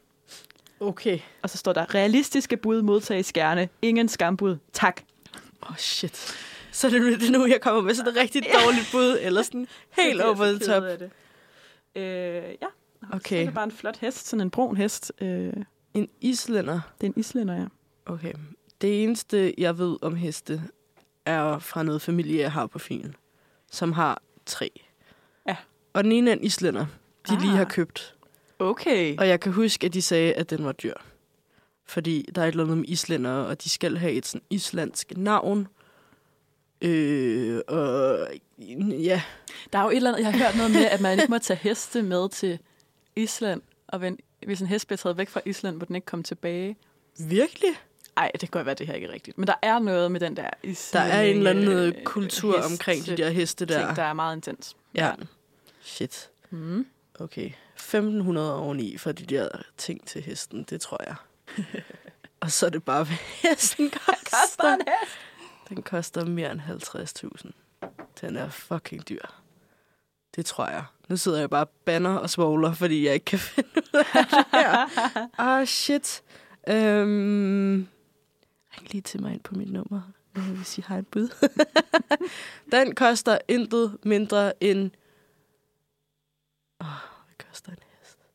Speaker 3: Okay.
Speaker 2: Og så står der, realistiske bud modtages gerne. Ingen skambud. Tak.
Speaker 1: Åh, oh, shit. Så er det nu- det er nu, jeg kommer med sådan et rigtig dårligt bud, eller sådan helt
Speaker 2: Jeg bliver
Speaker 1: over
Speaker 2: så
Speaker 1: the
Speaker 2: ked
Speaker 1: top.
Speaker 2: af det. Øh, ja. Så er
Speaker 1: Okay,
Speaker 2: det bare en flot hest, sådan en brun hest. Øh, det
Speaker 1: en islænder.
Speaker 2: er en islænder, ja.
Speaker 1: Okay. Det eneste, jeg ved om heste, er fra noget familie, jeg har på Fyn, som har tre.
Speaker 2: Ja.
Speaker 1: Og den ene er en islænder, de ah. lige har
Speaker 2: Ah.
Speaker 1: købt.
Speaker 2: Okay.
Speaker 1: Og jeg kan huske, at de sagde, at den var dyr. Fordi der er et eller andet med islænder, og de skal have et sådan islandsk navn. Øh, og ja,
Speaker 2: Der er jo et eller andet, jeg har hørt noget med, at man ikke må tage heste med til Island, og ven- hvis en hest bliver taget væk fra Island, må den ikke komme tilbage.
Speaker 1: virkelig?
Speaker 2: Nej, det kan godt være, det her ikke er rigtigt. Men der er noget med den der
Speaker 1: Der
Speaker 2: islændinge,
Speaker 1: er en eller anden øh,
Speaker 2: øh,
Speaker 1: kultur
Speaker 2: hest-
Speaker 1: omkring de der heste der.
Speaker 2: Ting, der er meget intens.
Speaker 1: Ja. Shit.
Speaker 2: Mm.
Speaker 1: Okay. 1500 oveni for de der ting til hesten, det tror jeg. og så er det bare, hvad hesten
Speaker 2: Koster
Speaker 1: koster.
Speaker 2: en hest?
Speaker 1: Den koster mere end 50.000. Den er fucking dyr. Det tror jeg. Nu sidder jeg bare banner og svogler, fordi jeg ikke kan finde ud af det her. Ah, shit. Øhm, jeg kan lige til mig ind på mit nummer, øh, hvis I har et bud. Den koster intet mindre end... Åh, oh, hvad koster en hest?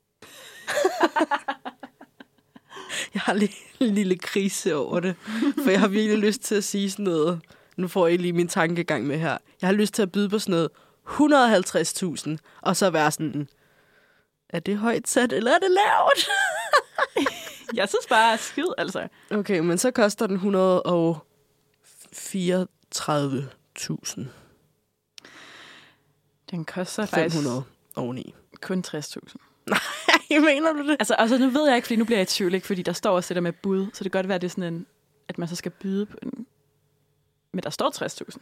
Speaker 1: jeg har lige en lille krise over det, for jeg har virkelig lyst til at sige sådan noget. Nu får I lige min tankegang med her. Jeg har lyst til at byde på sådan noget 150.000, og så være sådan... Er det højt sat, eller er det lavt?
Speaker 2: Jeg synes bare, at skid, altså.
Speaker 1: Okay, men så koster den 134.500
Speaker 2: Den koster faktisk
Speaker 1: oveni.
Speaker 2: kun 60.000.
Speaker 1: Ej, mener du det?
Speaker 2: Altså, altså, nu ved jeg ikke, fordi nu bliver jeg i tvivl, ikke? fordi der står også det der med bud, så det kan godt være, at det er sådan en, at man så skal byde på en. Men der står 60.000.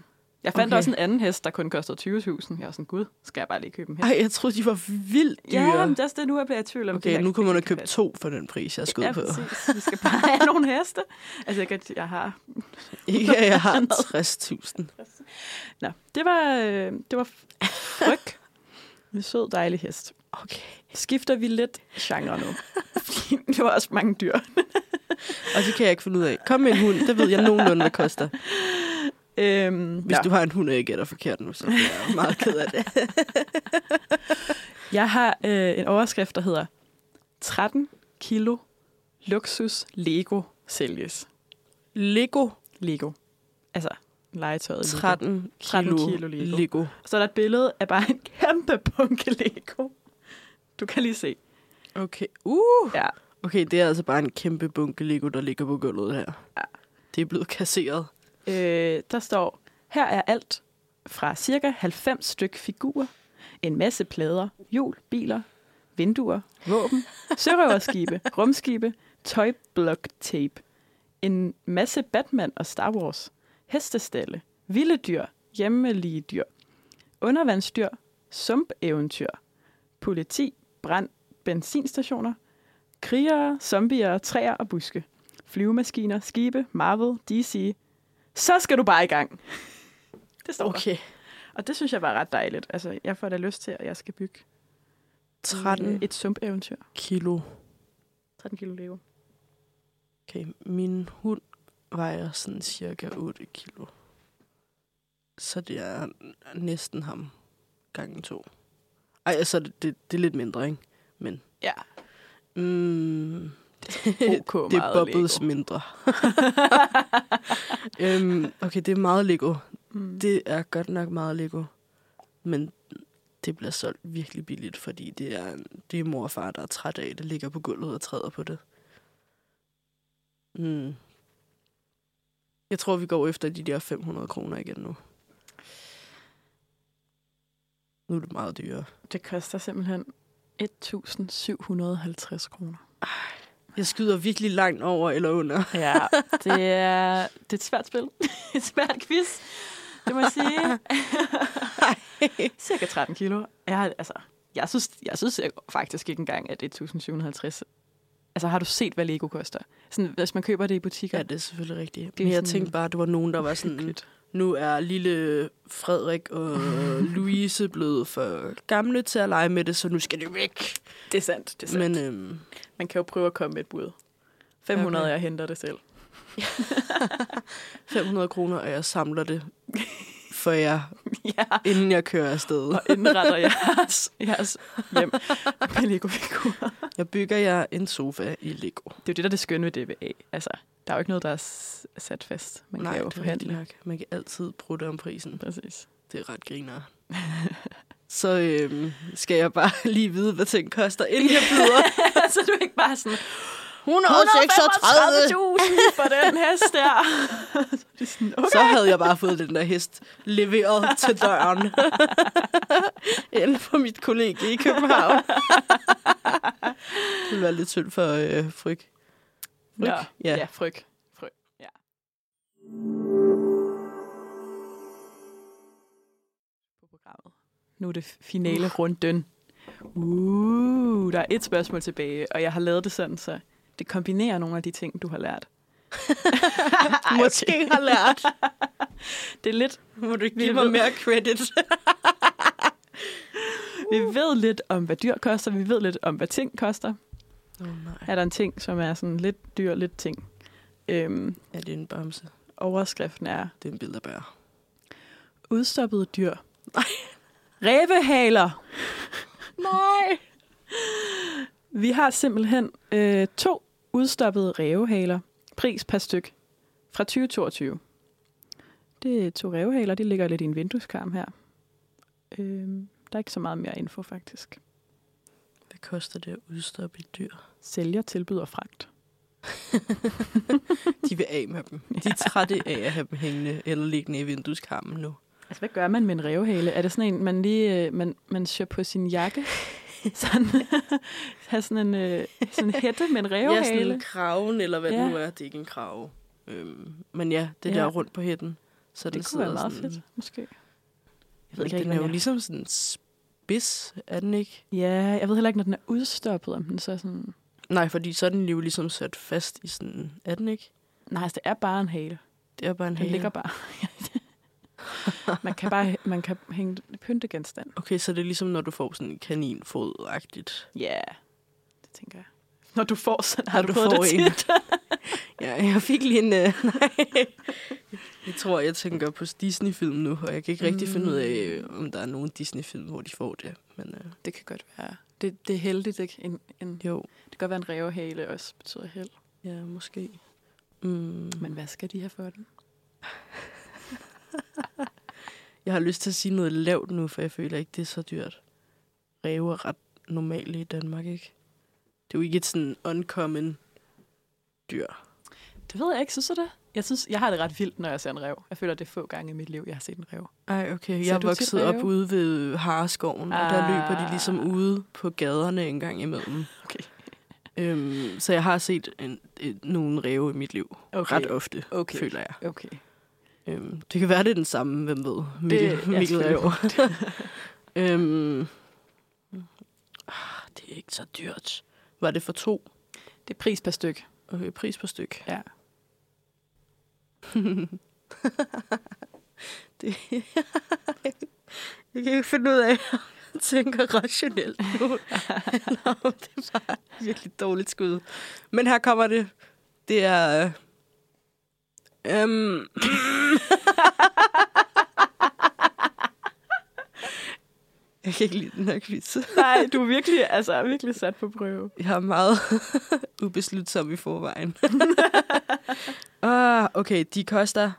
Speaker 2: Jeg fandt
Speaker 1: Okay.
Speaker 2: okay. også en anden hest, der kun kostede 20.000. Jeg var sådan, gud, skal jeg bare lige købe en hest?
Speaker 1: Ej, jeg troede, de var vildt dyre.
Speaker 2: ja, men det er også det, nu jeg bliver i tvivl om. det
Speaker 1: okay,
Speaker 2: her
Speaker 1: nu kunne man have
Speaker 2: kan
Speaker 1: købt
Speaker 2: passe.
Speaker 1: to for den pris, jeg skød
Speaker 2: Ja,
Speaker 1: på.
Speaker 2: præcis. Vi skal bare have nogle heste. Altså, jeg, kan, jeg har...
Speaker 1: Ikke, at jeg har
Speaker 2: Noget.
Speaker 1: 60.000.
Speaker 2: Nå, det var, øh, det var fryg. En sød, dejlig hest.
Speaker 1: Okay.
Speaker 2: Skifter vi lidt genre nu? Fordi det var også mange dyr.
Speaker 1: Og det kan jeg ikke finde ud af. Kom med en hund, det ved jeg nogenlunde, hvad koster.
Speaker 2: Øhm,
Speaker 1: Hvis ja. du har en hund, og jeg gætter forkert nu, så er jeg meget ked af det.
Speaker 2: Jeg har øh, en overskrift, der hedder 13 kilo luksus Lego sælges.
Speaker 1: Lego.
Speaker 2: Lego. Altså legetøjet Lego.
Speaker 1: 13 kilo,
Speaker 2: 13 kilo Lego.
Speaker 1: Lego. Lego.
Speaker 2: Så er der et billede af bare en kæmpe bunke Lego. Du kan lige se.
Speaker 1: Okay. Uh.
Speaker 2: Ja.
Speaker 1: Okay, det er altså bare en kæmpe bunke Lego, der ligger på gulvet her.
Speaker 2: Ja.
Speaker 1: Det er blevet kasseret.
Speaker 2: Øh, der står, her er alt fra cirka 90 styk figurer, en masse plader, hjul, biler, vinduer, våben, sørøverskibe, rumskibe, tøjblok tape, en masse Batman og Star Wars, hestestalle, vilde dyr, hjemmelige dyr, undervandsdyr, sumpeventyr, politi, brand, benzinstationer, krigere, zombier, træer og buske, flyvemaskiner, skibe, Marvel, DC, så skal du bare i gang. Det står okay.
Speaker 1: Okay.
Speaker 2: der. Og det synes jeg var ret dejligt. Altså, jeg får da lyst til, at jeg skal bygge øh,
Speaker 1: 13
Speaker 2: et sumpeventyr.
Speaker 1: kilo.
Speaker 2: 13 kilo lego.
Speaker 1: Okay, min hund vejer sådan cirka 8 kilo. Så det er næsten ham gangen to. Ej, altså, det, det, det er lidt mindre, ikke? Men...
Speaker 2: Ja.
Speaker 1: Mm,
Speaker 2: OK,
Speaker 1: det
Speaker 2: meget
Speaker 1: bobbles mindre. øhm, okay, det er meget Lego.
Speaker 2: Mm.
Speaker 1: Det er godt nok meget Lego. Men det bliver solgt virkelig billigt, fordi det er, det er mor og far, der er træt af, det ligger på gulvet og træder på det. Mm. Jeg tror, vi går efter de der 500 kroner igen nu. Nu er det meget dyrere.
Speaker 2: Det koster simpelthen 1.750 kroner.
Speaker 1: Jeg skyder virkelig langt over eller under.
Speaker 2: Ja, det er, det er et svært spil. et svært quiz, det må jeg sige. Cirka 13 kilo. Jeg, har- altså, jeg, synes, jeg synes faktisk ikke engang, at 1.750... Altså har du set, hvad Lego koster? Sådan, hvis man køber det i butikker.
Speaker 1: Ja, det er selvfølgelig rigtigt.
Speaker 2: Det er
Speaker 1: Men jeg
Speaker 2: sådan-
Speaker 1: tænkte bare, at det var nogen, der var sådan,
Speaker 2: Hyggeligt.
Speaker 1: nu er lille Frederik og Louise blevet for gamle til at lege med det, så nu skal det væk.
Speaker 2: Det er sandt, det er sandt. Men,
Speaker 1: Men øhm,
Speaker 2: man kan jo prøve at komme med et bud. 500,
Speaker 1: Okay.
Speaker 2: jeg henter det selv.
Speaker 1: 500 kroner, og jeg samler det for jer,
Speaker 2: ja,
Speaker 1: inden jeg kører afsted.
Speaker 2: og indretter jeres, jeres hjem med Lego-figurer.
Speaker 1: Jeg bygger jer en sofa i Lego.
Speaker 2: Det er jo det, der er det skønne ved DBA. Altså, der er jo ikke noget, der er s- sat fast. Man Nej, kan jo
Speaker 1: det er rigtigt
Speaker 2: forhandle.
Speaker 1: nok. Man kan altid bruge det om prisen.
Speaker 2: Præcis.
Speaker 1: Det er ret griner. Så øhm, skal jeg bare lige vide, hvad ting koster, inden jeg byder.
Speaker 2: så du er ikke bare sådan,
Speaker 1: 136!
Speaker 2: 135.000 for den hest der. Så er de sådan, okay.
Speaker 1: Så havde jeg bare fået den der hest leveret til døren. Inden for mit kollega i København. det ville være lidt synd for øh, fryg.
Speaker 2: Nå,
Speaker 1: Ja.
Speaker 2: ja. ja, fryg. fryg. Ja. På programmet. Nu er det finale uh. runden. Uh, der er et spørgsmål tilbage, og jeg har lavet det sådan, så det kombinerer nogle af de ting, du har lært. Ej, okay.
Speaker 1: Måske har lært.
Speaker 2: Det er lidt,
Speaker 1: Må du ikke
Speaker 2: Vi
Speaker 1: give mig
Speaker 2: ved-
Speaker 1: mere credit?
Speaker 2: vi ved lidt om, hvad dyr koster, vi ved lidt om, hvad ting koster.
Speaker 1: oh, nej.
Speaker 2: Er der en ting, som er sådan lidt dyr, lidt ting? Øhm,
Speaker 1: Er det en bamse?
Speaker 2: overskriften er,
Speaker 1: Det er en bilderbær.
Speaker 2: udstoppede dyr. Nej. Rævehaler.
Speaker 1: Nej!
Speaker 2: Vi har simpelthen øh, to udstoppede rævehaler. Pris per styk fra 2022. Det er to rævehaler, de ligger lidt i en vindueskarm her. Øh, der er ikke så meget mere info faktisk.
Speaker 1: Hvad koster det at udstoppe et dyr?
Speaker 2: Sælger tilbyder fragt.
Speaker 1: De vil af med dem. De er trætte af at have dem hængende eller liggende i vindueskarmen nu.
Speaker 2: Altså, hvad gør man med en rævehale? Er det sådan en, man lige øh, man, man søger på sin jakke? Sådan, har sådan en, øh, sådan en hætte med
Speaker 1: Ja,
Speaker 2: en
Speaker 1: sådan
Speaker 2: rævehale?
Speaker 1: en kraven, eller hvad ja.
Speaker 2: Ja.
Speaker 1: det nu er. Det er ikke en krave. Øhm, men ja, det
Speaker 2: Ja.
Speaker 1: ja. der rundt på hætten. Så den
Speaker 2: det kunne være
Speaker 1: sidder
Speaker 2: meget
Speaker 1: sådan,
Speaker 2: fedt, måske.
Speaker 1: Jeg ved ikke, den er jo ligesom sådan en spids, er den ikke?
Speaker 2: Ja, jeg ved heller ikke, når den er udstoppet, om den så er sådan...
Speaker 1: Nej, fordi så er den jo ligesom sat fast i sådan, er den ikke?
Speaker 2: Nej, altså, det er bare en hale.
Speaker 1: Det er bare en
Speaker 2: Den
Speaker 1: hale.
Speaker 2: ligger bare... man kan bare man kan hænge det- pyntegenstand.
Speaker 1: Okay, så det er ligesom, når du får sådan en kaninfod-agtigt.
Speaker 2: Ja, yeah. det tænker jeg. Når du får sådan, har
Speaker 1: Når
Speaker 2: du,
Speaker 1: du
Speaker 2: fået
Speaker 1: får
Speaker 2: det
Speaker 1: en.
Speaker 2: tit.
Speaker 1: Ja, jeg fik lige en... Øh, nej. Jeg tror, jeg tænker på Disney-film nu, og jeg kan ikke rigtig finde ud af, øh, om der er nogen Disney-film, hvor de får det. Men øh,
Speaker 2: det kan godt være. Det, det er heldigt, ikke? En, en,
Speaker 1: jo,
Speaker 2: det kan godt være, en rævehale også betyder held.
Speaker 1: ja, måske. Mm.
Speaker 2: Men hvad skal de have for den?
Speaker 1: Jeg har lyst til at sige noget lavt nu, for jeg føler ikke, det er så dyrt. Ræve er ret normale i Danmark, ikke? Det er jo ikke et sådan uncommon dyr.
Speaker 2: Det ved jeg ikke, synes du det? Jeg, synes, jeg har det ret vildt, når jeg ser en rev. Jeg føler, det er få gange i mit liv, jeg har set en rev.
Speaker 1: Ej, okay.
Speaker 2: Så
Speaker 1: Jeg er
Speaker 2: du er tit
Speaker 1: vokset op
Speaker 2: ræve?
Speaker 1: ude ved Hareskoven, og der
Speaker 2: Ah.
Speaker 1: løber de ligesom ude på gaderne en gang imellem.
Speaker 2: Okay.
Speaker 1: Øhm, så jeg har set en, en, nogle ræve i mit liv. Okay. Ret ofte, okay.
Speaker 2: Okay.
Speaker 1: føler jeg.
Speaker 2: Okay.
Speaker 1: Øhm, det kan være, det er den samme, hvem ved. Mikkel,
Speaker 2: Det-
Speaker 1: det,
Speaker 2: ja,
Speaker 1: Mikkel er
Speaker 2: selvfølgelig.
Speaker 1: jo. øhm, ah, det er ikke så dyrt. Var det for to?
Speaker 2: Det er pris per styk.
Speaker 1: Okay, pris per styk.
Speaker 2: Ja.
Speaker 1: det, jeg kan ikke finde ud af, om jeg tænker rationelt nu. Eller om det er bare et virkelig dårligt skud. Men her kommer det. Det er... Øh, øhm, jeg kan ikke lide den her quiz.
Speaker 2: Nej, du er virkelig, altså, virkelig sat på prøve.
Speaker 1: Jeg er meget ubeslutsom i forvejen. ah, okay, de koster...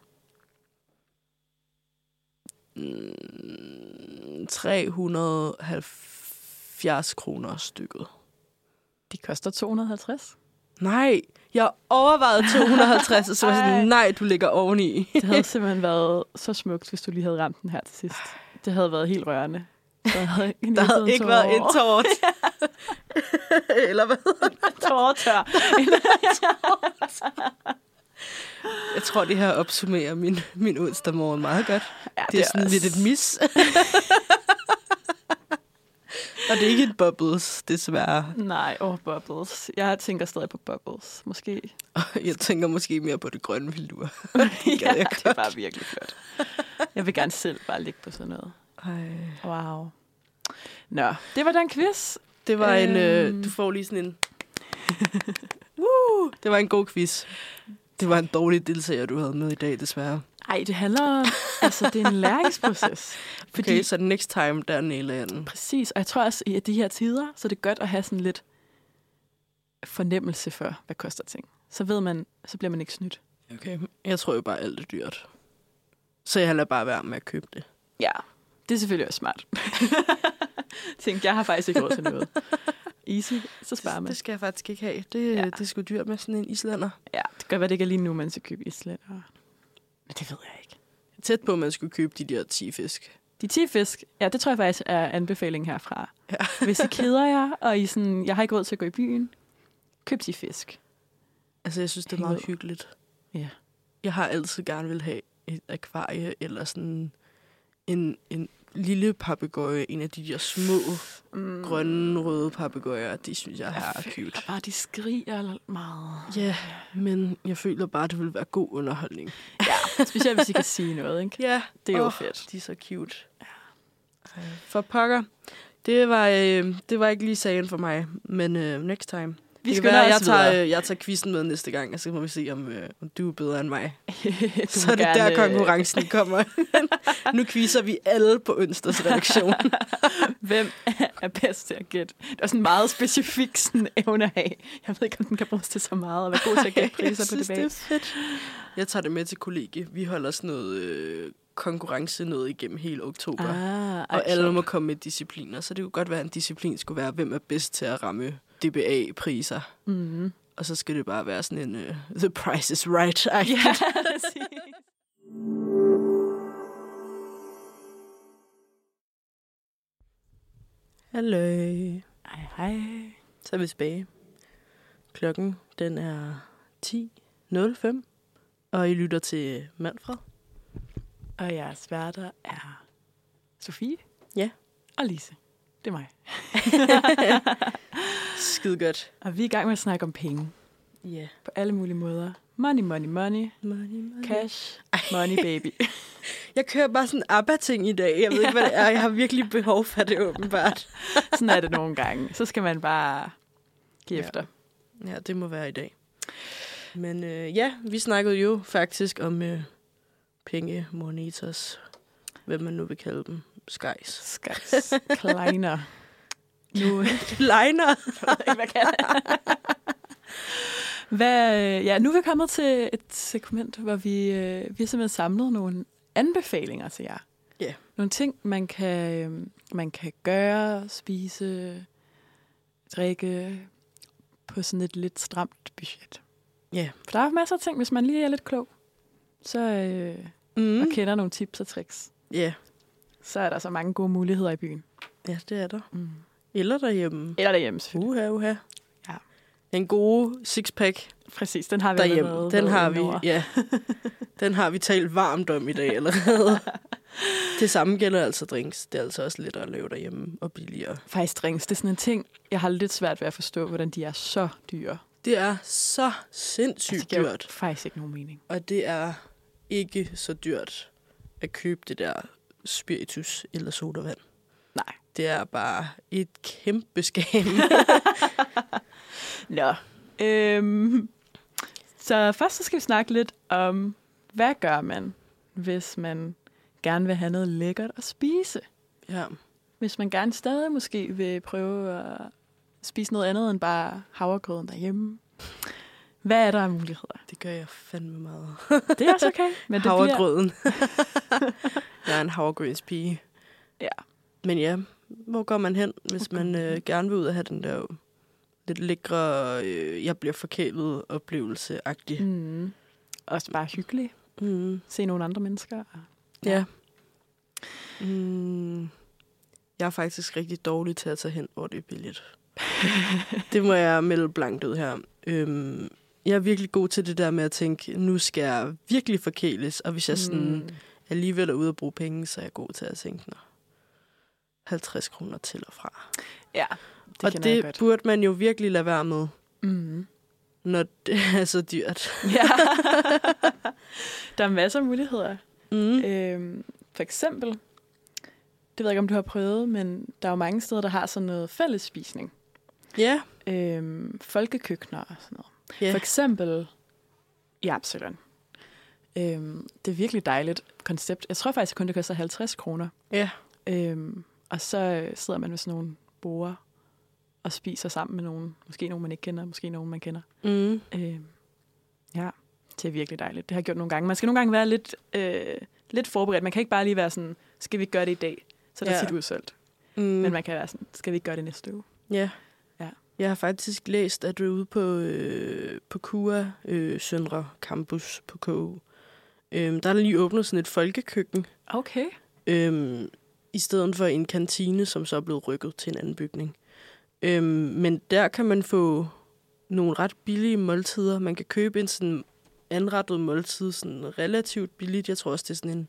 Speaker 1: mm, 370 kroner stykket.
Speaker 2: De koster 250.
Speaker 1: Nej, jeg overvejede 250, og så var jeg
Speaker 2: Ej.
Speaker 1: sådan, nej, du ligger oveni.
Speaker 2: Det havde simpelthen været så smukt, hvis du lige havde ramt den her til sidst. Det havde været helt rørende. Der havde,
Speaker 1: Der havde ikke været en tårt. Eller hvad?
Speaker 2: tårtør.
Speaker 1: Jeg tror, det her opsummerer min, min onsdag morgen meget godt.
Speaker 2: Ja,
Speaker 1: Det er sådan lidt et mis. Og det er ikke et bubbles, desværre.
Speaker 2: Nej, åh, oh, bubbles. Jeg tænker stadig på bubbles, måske.
Speaker 1: Jeg tænker måske mere på det grønne velur.
Speaker 2: det
Speaker 1: jeg
Speaker 2: det er bare virkelig flot. Jeg vil gerne selv bare ligge på sådan noget.
Speaker 1: Ej.
Speaker 2: Wow. Nå, det var den quiz.
Speaker 1: Det var en...
Speaker 2: Øhm.
Speaker 1: Øh, du får lige sådan en... Woo! Det var en god quiz. Det var en dårlig deltager, du havde med i dag, desværre.
Speaker 2: Ej, det handler om... Altså, det er en læringsproces.
Speaker 1: Fordi... Okay, så next time, der nailer jeg den.
Speaker 2: Præcis, og jeg tror også, i de her tider, så er det godt at have sådan lidt fornemmelse for, hvad koster ting. Så ved man, så bliver man ikke snydt.
Speaker 1: Okay. Jeg tror jo bare, alt er dyrt. Så jeg lader bare være med at købe det.
Speaker 2: Ja. Det er selvfølgelig også smart. Tænk, jeg har faktisk ikke råd til noget. Easy, så sparer man.
Speaker 1: Det skal jeg faktisk ikke have. Det,
Speaker 2: Ja.
Speaker 1: ja. det er sgu dyrt med sådan en islænder.
Speaker 2: Ja, det kan godt være, det ikke er lige nu, man skal købe islet. Og... Men det ved jeg ikke.
Speaker 1: Tæt på, at man skulle købe de der 10 fisk.
Speaker 2: De 10 fisk, ja, det tror jeg faktisk er anbefaling herfra.
Speaker 1: Ja.
Speaker 2: Hvis I keder jer, og I sådan, jeg har ikke råd til at gå i byen, køb 10 fisk.
Speaker 1: Altså, jeg synes, det er
Speaker 2: Hæng
Speaker 1: meget
Speaker 2: ud.
Speaker 1: hyggeligt.
Speaker 2: Ja.
Speaker 1: Jeg har altid gerne vil have et akvarie, eller sådan en, en lille papegøje, en af de der små
Speaker 2: Mm.
Speaker 1: grønne, røde papegøjer, de synes jeg her er
Speaker 2: Jeg føler
Speaker 1: cute.
Speaker 2: bare, de skriger meget.
Speaker 1: Ja, men jeg føler bare, det ville være god underholdning.
Speaker 2: Specielt, hvis I kan sige noget, ikke?
Speaker 1: Ja,
Speaker 2: Det er jo
Speaker 1: Åh,
Speaker 2: fedt.
Speaker 1: De er så cute. Ej, For pokker. Det var, øh, det var ikke lige sagen for mig, men øh, next time.
Speaker 2: Vi
Speaker 1: det
Speaker 2: skal
Speaker 1: kan være, jeg
Speaker 2: også videre.
Speaker 1: tager, øh, jeg tager quizzen med næste gang, og så må vi se, om, øh, om du er bedre end mig.
Speaker 2: Du må
Speaker 1: Så er det
Speaker 2: gerne,
Speaker 1: der,
Speaker 2: øh,
Speaker 1: konkurrencen kommer. nu quizzer vi alle på onsdags redaktion.
Speaker 2: Hvem er bedst til at gætte? Det er sådan en meget specifik sådan, evne at have. Jeg ved ikke, om den kan bruges til så meget, og være god til at gætte priser på det
Speaker 1: det er
Speaker 2: bag.
Speaker 1: fedt. Jeg tager det med til kollegie. Vi holder sådan noget øh, konkurrence noget igennem hele oktober. Ah,
Speaker 2: Ah,
Speaker 1: og alle må komme med discipliner, så det kunne godt være, at en disciplin skulle være, hvem er bedst til at ramme DBA-priser.
Speaker 2: Mm-hmm.
Speaker 1: Og så skal det bare være sådan en uh, The Price is Right. Ej.
Speaker 2: Ja,
Speaker 1: Hallo.
Speaker 2: Ej, hej.
Speaker 1: Så er vi tilbage. Klokken den er 10.05, og I lytter til Manfred.
Speaker 2: Og jeres værter er Sofie.
Speaker 1: Ja.
Speaker 2: Og Lise. Det er mig.
Speaker 1: Skide godt.
Speaker 2: Og vi er i gang med at snakke om penge.
Speaker 1: Ja. Yeah.
Speaker 2: På alle mulige måder. Money, money, money.
Speaker 1: Money, money.
Speaker 2: Cash. Money, baby.
Speaker 1: Jeg kører bare sådan ABBA-ting i dag. Jeg ved ikke, hvad det er. Jeg har virkelig behov for det, åbenbart.
Speaker 2: Sådan er det nogle gange. Så skal man bare give
Speaker 1: Ja.
Speaker 2: efter.
Speaker 1: Ja, det må være i dag. Men øh, ja, vi snakkede jo faktisk om øh, penge, monetas, hvad man nu vil kalde dem. Skies. øh,
Speaker 2: Skaks. Kleiner. Nu,
Speaker 1: Liner.
Speaker 2: hvad kan Hvad, øh, ja, nu er vi kommet til et segment, hvor vi, øh, vi har simpelthen samlet nogle anbefalinger til jer.
Speaker 1: Ja.
Speaker 2: Nogle ting, man kan, øh, man kan gøre, spise, drikke på sådan et lidt stramt budget.
Speaker 1: Ja.
Speaker 2: For der er jo masser af ting, hvis man lige er lidt klog, så øh,
Speaker 1: Mm.
Speaker 2: og kender nogle tips og tricks,
Speaker 1: Ja.
Speaker 2: så er der så mange gode muligheder i byen.
Speaker 1: ja, det er der.
Speaker 2: Mm.
Speaker 1: Eller derhjemme.
Speaker 2: Eller derhjemme, selvfølgelig.
Speaker 1: Uha, uha.
Speaker 2: Ja.
Speaker 1: Den gode sixpack
Speaker 2: Præcis, den har vi
Speaker 1: derhjemme, den
Speaker 2: allerede været
Speaker 1: har
Speaker 2: inde over.
Speaker 1: vi, ja. Den har vi talt varmt om i dag allerede. det samme gælder altså drinks. Det er altså også lettere at lave derhjemme og billigere.
Speaker 2: Faktisk drinks, det er sådan en ting, jeg har lidt svært ved at forstå, hvordan de er så dyre.
Speaker 1: Det er så
Speaker 2: Altså,
Speaker 1: sindssygt
Speaker 2: det giver jo
Speaker 1: dyrt,
Speaker 2: faktisk ikke nogen mening.
Speaker 1: og det er ikke så dyrt at købe det der spiritus eller sodavand.
Speaker 2: Nej.
Speaker 1: Det er bare et kæmpe skam.
Speaker 2: Nå. Øhm, så først så skal vi snakke lidt om, hvad gør man, hvis man gerne vil have noget lækkert at spise?
Speaker 1: ja.
Speaker 2: Hvis man gerne stadig måske vil prøve at spise noget andet end bare havregrøden derhjemme. Hvad er der af muligheder?
Speaker 1: Det gør jeg fandme meget.
Speaker 2: Det er også okay. Men det bliver,
Speaker 1: Havregrøden. jeg er en havregrødspige.
Speaker 2: Ja.
Speaker 1: Men ja, hvor går man hen, hvis
Speaker 2: Hvor går
Speaker 1: man
Speaker 2: man
Speaker 1: øh,
Speaker 2: hen?
Speaker 1: gerne vil ud og have den der lidt lækre, øh, jeg bliver forkælet oplevelse-agtig.
Speaker 2: Mm, også bare hyggeligt.
Speaker 1: Mm.
Speaker 2: Se nogle andre mennesker.
Speaker 1: Ja. Mm. Jeg er faktisk rigtig dårlig til at tage hen, hvor det er billigt. det må jeg melde blankt ud her. Øhm, jeg er virkelig god til det der med at tænke, nu skal jeg virkelig forkæles, og hvis jeg sådan... Mm. alligevel er ude at bruge penge, så er jeg god til at tænke, nå, 50 kroner til og fra.
Speaker 2: Ja, det
Speaker 1: og
Speaker 2: kender jeg
Speaker 1: det
Speaker 2: godt.
Speaker 1: burde man jo virkelig lade være med,
Speaker 2: Mm.
Speaker 1: når det er så dyrt.
Speaker 2: Ja. der er masser af muligheder.
Speaker 1: Mm.
Speaker 2: Øhm, for eksempel, det ved jeg ikke, om du har prøvet, men der er jo mange steder, der har sådan noget fællesspisning.
Speaker 1: Ja,
Speaker 2: Øhm, folkekøkkener og sådan noget.
Speaker 1: Ja.
Speaker 2: For eksempel i Absalon. Øhm, det er virkelig dejligt koncept. Jeg tror faktisk kun, det koster 50 kroner.
Speaker 1: Ja.
Speaker 2: Øhm, og så øh, sidder man med sådan nogle borer og spiser sammen med nogen. Måske nogen, man ikke kender, måske nogen, man kender.
Speaker 1: mm.
Speaker 2: Øh, ja, det er virkelig dejligt. Det har jeg gjort nogle gange. Man skal nogle gange være lidt, øh, lidt forberedt. Man kan ikke bare lige være sådan, skal vi ikke gøre det i dag? Så er der
Speaker 1: Ja.
Speaker 2: ja. tit udsolgt.
Speaker 1: Mm.
Speaker 2: Mm. Men man kan være sådan, skal vi ikke gøre det næste uge?
Speaker 1: Ja.
Speaker 2: Ja.
Speaker 1: Jeg har faktisk læst, at du er ude på, øh, på KUA, øh, Søndre Campus på KU. Øhm, der er lige åbnet sådan et folkekøkken,
Speaker 2: Okay.
Speaker 1: øhm, i stedet for en kantine, som så er blevet rykket til en anden bygning. Øhm, men der kan man få nogle ret billige måltider. Man kan købe en sådan anrettet måltid sådan relativt billigt. Jeg tror også, det er sådan en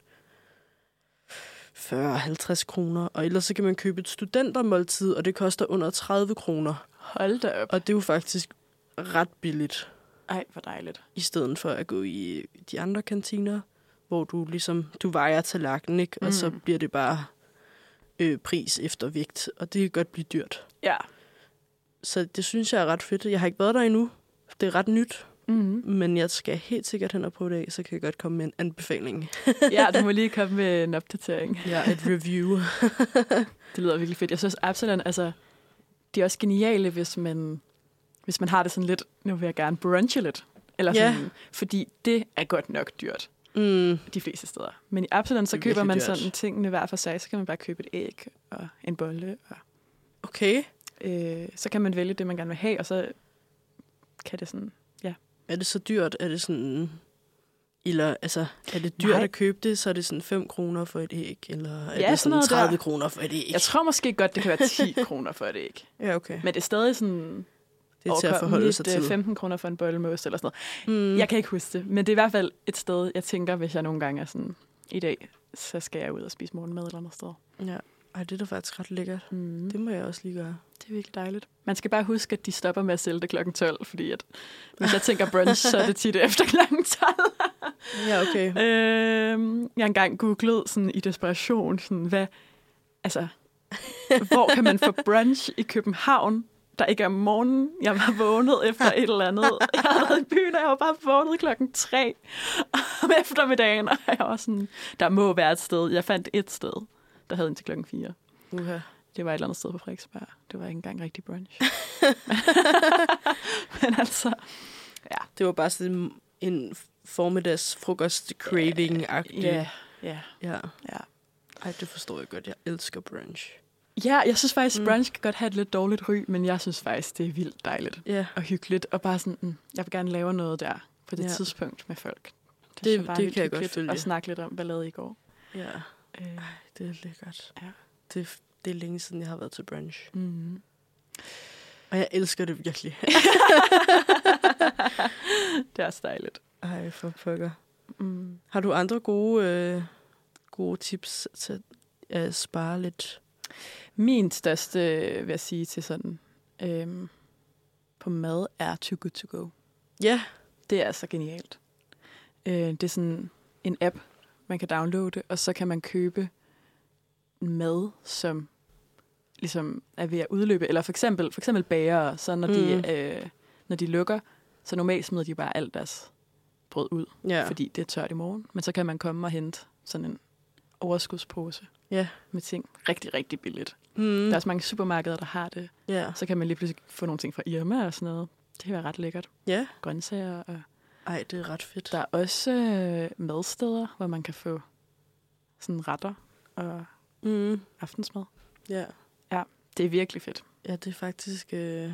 Speaker 1: 40-50 kroner. Og ellers så kan man købe et studentermåltid, og det koster under 30 kroner.
Speaker 2: Hold da op.
Speaker 1: Og det er jo faktisk ret billigt,
Speaker 2: Ej, hvor dejligt.
Speaker 1: i stedet for at gå i de andre kantiner, hvor du ligesom, du vejer tallerkenen, ikke? Og mm. så
Speaker 2: Mm.
Speaker 1: bliver det bare øh, pris efter vægt, og det kan godt blive dyrt.
Speaker 2: Ja.
Speaker 1: Så det synes jeg er ret fedt. Jeg har ikke været der endnu. Det er ret nyt,
Speaker 2: Mm-hmm.
Speaker 1: men jeg skal helt sikkert hen og prøve det af, så kan jeg godt komme med en anbefaling.
Speaker 2: ja, du må lige komme med en opdatering.
Speaker 1: Ja, et review.
Speaker 2: Det lyder virkelig fedt. Jeg synes, Absalon, altså, de er også geniale, hvis man, hvis man har det sådan lidt, nu vil jeg gerne brunche lidt. Eller
Speaker 1: Ja.
Speaker 2: sådan, fordi det er godt nok dyrt.
Speaker 1: Mm,
Speaker 2: de fleste steder. Men i Absalon, så
Speaker 1: Det er virkelig
Speaker 2: køber man
Speaker 1: dyrt.
Speaker 2: sådan tingene hver for sig. Så kan man bare købe et æg og en bolle. Og,
Speaker 1: okay.
Speaker 2: øh, så kan man vælge det, man gerne vil have, og så kan det sådan...
Speaker 1: Er det så dyrt? Er det sådan... Eller, altså, er det dyrt
Speaker 2: Nej.
Speaker 1: at købe det, så er det sådan 5 kroner for et æg, eller er
Speaker 2: Ja, sådan
Speaker 1: det sådan
Speaker 2: noget der.
Speaker 1: 30 kroner for et æg?
Speaker 2: Jeg tror måske godt, det kan være 10 kroner for et æg.
Speaker 1: Ja, okay.
Speaker 2: Men øh, det er stadig sådan...
Speaker 1: Det er til at forholde sig til.
Speaker 2: 15 kroner for en bolle med ost eller sådan noget.
Speaker 1: Mm.
Speaker 2: Mm. Jeg kan ikke huske det, men det er i hvert fald et sted, jeg tænker, hvis jeg nogle gange er sådan... I dag, så skal jeg ud og spise morgenmad eller noget sted.
Speaker 1: Ja. Ej, det er da faktisk ret lækkert.
Speaker 2: Mm.
Speaker 1: Det må jeg også lige gøre.
Speaker 2: Det er virkelig dejligt. Man skal bare huske, at de stopper med at sælge det klokken 12, fordi at, hvis jeg tænker brunch, så er det tit efter klokken 12.
Speaker 1: Ja, okay.
Speaker 2: øhm, jeg har engang googlet sådan, i desperation, sådan, hvad, altså, hvor kan man få brunch i København, der ikke er om morgenen. Jeg var vågnet efter et eller andet. Jeg havde været i byen, og jeg var bare vågnet klokken 3 om eftermiddagen. Og jeg var sådan, der må være et sted. Jeg fandt et sted, der havde indtil klokken 4.
Speaker 1: Uha.
Speaker 2: Det var et eller andet sted på Frederiksberg. Det var ikke engang rigtig brunch. Men altså,
Speaker 1: Det var bare sådan en formiddags frokost craving agtig
Speaker 2: ja, ja.
Speaker 1: ja.
Speaker 2: Ja.
Speaker 1: Ej, det forstår jeg godt. Jeg elsker brunch.
Speaker 2: Ja, jeg synes faktisk,
Speaker 1: Mm.
Speaker 2: mm. brunch kan godt have et lidt dårligt ry, men jeg synes faktisk, det er vildt dejligt
Speaker 1: Ja,
Speaker 2: og hyggeligt. Og bare sådan, mm, jeg vil gerne lave noget der på det
Speaker 1: Ja.
Speaker 2: ja. tidspunkt med folk. Det,
Speaker 1: Det-
Speaker 2: synes bare er
Speaker 1: det
Speaker 2: vildt
Speaker 1: kan jeg godt
Speaker 2: hyggeligt
Speaker 1: følge.
Speaker 2: Og snakke lidt om, hvad lavede I i går.
Speaker 1: ja.
Speaker 2: Øh,
Speaker 1: Ej, det er lækkert.
Speaker 2: Ja.
Speaker 1: Det, det er længe siden, jeg har været til brunch.
Speaker 2: mm.
Speaker 1: Og jeg elsker det virkelig.
Speaker 2: det er også dejligt.
Speaker 1: Ej, for pokker.
Speaker 2: Mm.
Speaker 1: Har du andre gode, øh, gode tips til at øh, spare lidt?
Speaker 2: Min største, øh, vil jeg sige til sådan, øhm, på mad er too good to go.
Speaker 1: Ja.
Speaker 2: Det er altså genialt. Øh, det er sådan en app, man kan downloade, og så kan man købe mad, som ligesom er ved at udløbe. Eller for eksempel, for eksempel bager, så når, mm.
Speaker 1: Mm.
Speaker 2: de, øh, når de lukker, så normalt smider de bare alt deres brød ud, ja.
Speaker 1: Ja.
Speaker 2: fordi det er tørt i morgen. Men så kan man komme og hente sådan en overskudspose
Speaker 1: Ja.
Speaker 2: med ting rigtig, rigtig billigt. Mm.
Speaker 1: Mm.
Speaker 2: Der er også mange supermarkeder, der har det.
Speaker 1: Ja.
Speaker 2: Så kan man lige pludselig få nogle ting fra Irma og sådan noget. Det kan være ret lækkert.
Speaker 1: Ja.
Speaker 2: Grøntsager og
Speaker 1: Ej, det er ret fedt.
Speaker 2: der er også øh, madsteder, hvor man kan få sådan retter og
Speaker 1: Mm.
Speaker 2: aftensmad.
Speaker 1: Ja.
Speaker 2: Det er virkelig fedt.
Speaker 1: Ja, det er faktisk... Øh...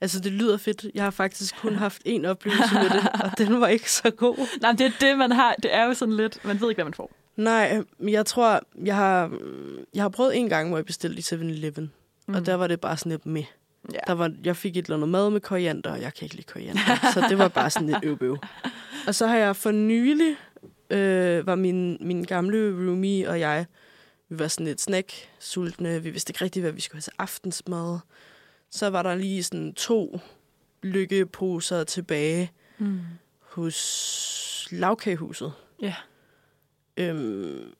Speaker 1: Altså, det lyder fedt. Jeg har faktisk kun haft én oplevelse med det, og den var ikke så god.
Speaker 2: Nej, men det er det, man har. Det er jo sådan lidt, man ved ikke, hvad man får.
Speaker 1: Nej, men jeg tror, jeg har, jeg har prøvet en gang, hvor jeg bestilte i 7-Eleven. Mm. Og der var det bare sådan lidt med.
Speaker 2: ja.
Speaker 1: Der var, jeg fik et eller andet mad med koriander, og jeg kan ikke lide koriander. så det var bare sådan lidt øvbøv. Og så har jeg for nylig, øh, var min, min gamle roomie og jeg, Vi var sådan lidt snack, sultne. Vi vidste ikke rigtigt, hvad vi skulle have til aftensmad. Så var der lige sådan to lykkeposer tilbage
Speaker 2: Mm.
Speaker 1: hos lavkagehuset.
Speaker 2: Ja.
Speaker 1: Øhm,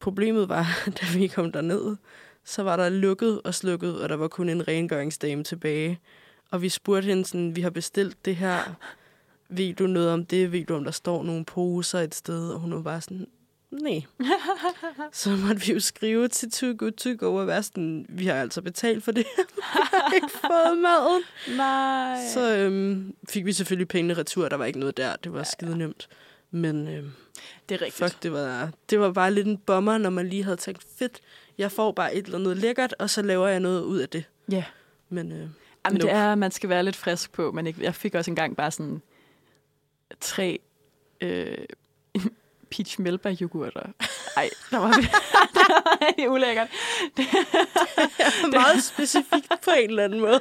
Speaker 1: problemet var, da vi kom derned, så var der lukket og slukket, og der var kun en rengøringsdame tilbage. Og vi spurgte hende sådan, vi har bestilt det her. Ved du noget om det? Ved du, om der står nogle poser et sted? Og hun var bare sådan, nej. så måtte vi jo skrive til Too Good To Go og være sådan, vi har altså betalt for det. vi har ikke fået maden.
Speaker 2: Nej. Så.
Speaker 1: Så øhm, fik vi selvfølgelig pengene retur, der var ikke noget der. Det var skide nemt. Men øhm,
Speaker 2: Det er rigtigt.
Speaker 1: Fuck, det var, det var bare lidt en bomber, når man lige havde tænkt, fedt, jeg får bare et eller andet lækkert, og så laver jeg noget ud af det.
Speaker 2: Ja.
Speaker 1: Men øh,
Speaker 2: Jamen, nope. det
Speaker 1: Nope.
Speaker 2: er, man skal være lidt frisk på. Men ikke, jeg fik også engang bare sådan tre øh, peach melba yoghurter. Ej, der var det var rigtig ulækkert.
Speaker 1: meget specifikt på en eller anden måde.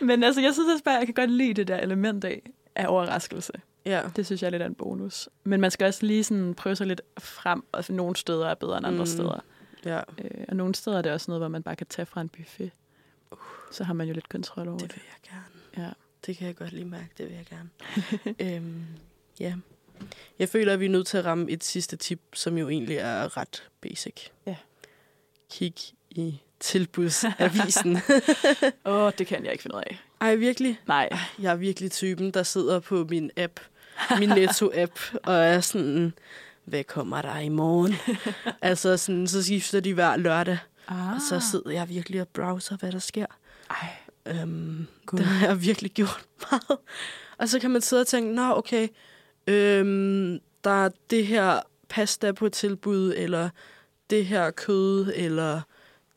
Speaker 2: Men altså, jeg synes også bare, jeg kan godt lide det der element af, af overraskelse.
Speaker 1: Ja,
Speaker 2: Det synes jeg lidt er en bonus. Men man skal også lige sådan prøve sig lidt frem, og nogle steder er bedre end andre
Speaker 1: Mm.
Speaker 2: mm. steder.
Speaker 1: ja.
Speaker 2: Øh, og nogle steder er det også noget, hvor man bare kan tage fra en buffet. Så har man jo lidt kontrol over
Speaker 1: Det
Speaker 2: Uh. det.
Speaker 1: vil jeg gerne.
Speaker 2: Ja.
Speaker 1: Det kan jeg godt lige mærke, det vil jeg gerne. øhm, ja. Jeg føler, at vi er nødt til at ramme et sidste tip, som jo egentlig er ret basic.
Speaker 2: Ja.
Speaker 1: Kig i tilbudsavisen.
Speaker 2: Åh, oh, det kan jeg ikke finde ud af.
Speaker 1: Ej, virkelig?
Speaker 2: Nej.
Speaker 1: Jeg er virkelig typen, der sidder på min app, min Netto-app, og er sådan, hvad kommer der i morgen? altså, sådan, så skifter de hver lørdag,
Speaker 2: Ah.
Speaker 1: og så sidder jeg virkelig og browser, hvad der sker.
Speaker 2: Ej.
Speaker 1: Øhm,
Speaker 2: Gud.
Speaker 1: det har jeg virkelig gjort meget. Og så kan man sidde og tænke, nå okay, øhm, der er det her pasta på tilbud, eller det her kød, eller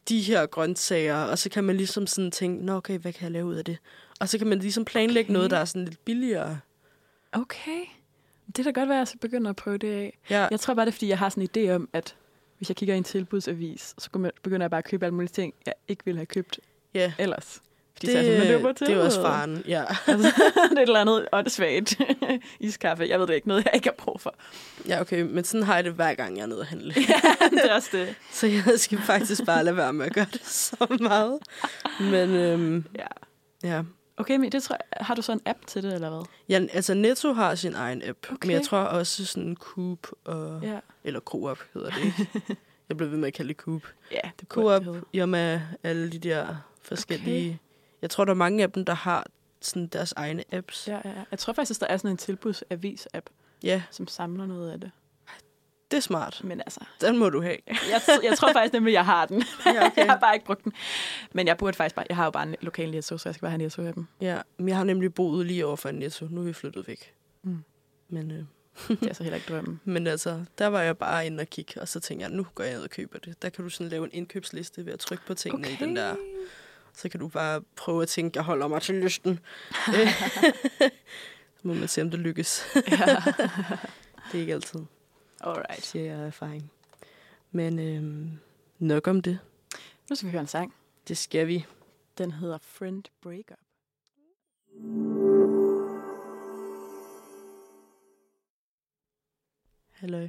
Speaker 1: de her grøntsager, og så kan man ligesom sådan tænke, nå okay, hvad kan jeg lave ud af det? Og så kan man ligesom planlægge
Speaker 2: Okay.
Speaker 1: okay. noget, der er sådan lidt billigere.
Speaker 2: Okay. Det kan da godt være, at jeg så begynder at prøve det af.
Speaker 1: Ja,
Speaker 2: Jeg tror bare, det er, fordi jeg har sådan en idé om, at hvis jeg kigger i en tilbudsavis, så begynder jeg bare at købe alle mulige ting, jeg ikke ville have købt
Speaker 1: ja.
Speaker 2: ellers. Fordi så er jeg
Speaker 1: Det,
Speaker 2: sådan, "Men det, er jo på
Speaker 1: det er jo også
Speaker 2: tilbud."
Speaker 1: faren, ja.
Speaker 2: Altså, det er et eller andet åndssvagt iskaffe. Jeg ved det ikke. Noget, jeg ikke har brug for.
Speaker 1: Ja, okay, men sådan har jeg det hver gang, jeg er nede og handle.
Speaker 2: Ja, det er også det.
Speaker 1: Så jeg skal faktisk bare lade være med at gøre det så meget. Men øhm,
Speaker 2: Ja.
Speaker 1: ja,
Speaker 2: Okay, men det tror jeg, har du så en app til det, eller hvad?
Speaker 1: Ja, altså Netto har sin egen app, okay.
Speaker 2: Okay.
Speaker 1: men jeg tror også sådan Coop og... Ja. Eller Coop hedder det ikke. jeg blev ved med at kalde det Coop.
Speaker 2: ja det kunne
Speaker 1: Coop,
Speaker 2: jeg hedde.
Speaker 1: Irma, alle de der forskellige... Okay. Jeg tror, der er mange af dem, der har sådan deres egne apps. Ja.
Speaker 2: Ja, ja, ja. Jeg tror faktisk, der er sådan en tilbudsavis-app,
Speaker 1: ja,
Speaker 2: som samler noget af det.
Speaker 1: det er smart.
Speaker 2: Men altså,
Speaker 1: Den må du have.
Speaker 2: jeg, jeg tror faktisk nemlig, jeg har den.
Speaker 1: Ja,
Speaker 2: Jeg har bare ikke brugt den. Men jeg burde faktisk bare, jeg har jo bare en lokal netto, så jeg skal bare have netto af dem.
Speaker 1: ja, men jeg har nemlig boet lige over for en Netto. Nu er vi flyttet væk.
Speaker 2: Mm.
Speaker 1: Men, øh,
Speaker 2: Det er så heller ikke drømmen.
Speaker 1: men altså, der var jeg bare inde og kigge, og så tænkte jeg, nu går jeg ned og køber det. Der kan du sådan lave en indkøbsliste ved at trykke på tingene okay. i den der så kan du bare prøve at tænke, jeg holder mig til lysten. Øh, så må man se, om det lykkes.
Speaker 2: ja.
Speaker 1: Det er ikke altid,
Speaker 2: Alright.
Speaker 1: siger jeg af erfaring. Men øhm, nok om det.
Speaker 2: Nu skal vi høre en sang.
Speaker 1: Det skal vi.
Speaker 2: Den hedder Friend Breakup.
Speaker 1: Halløj.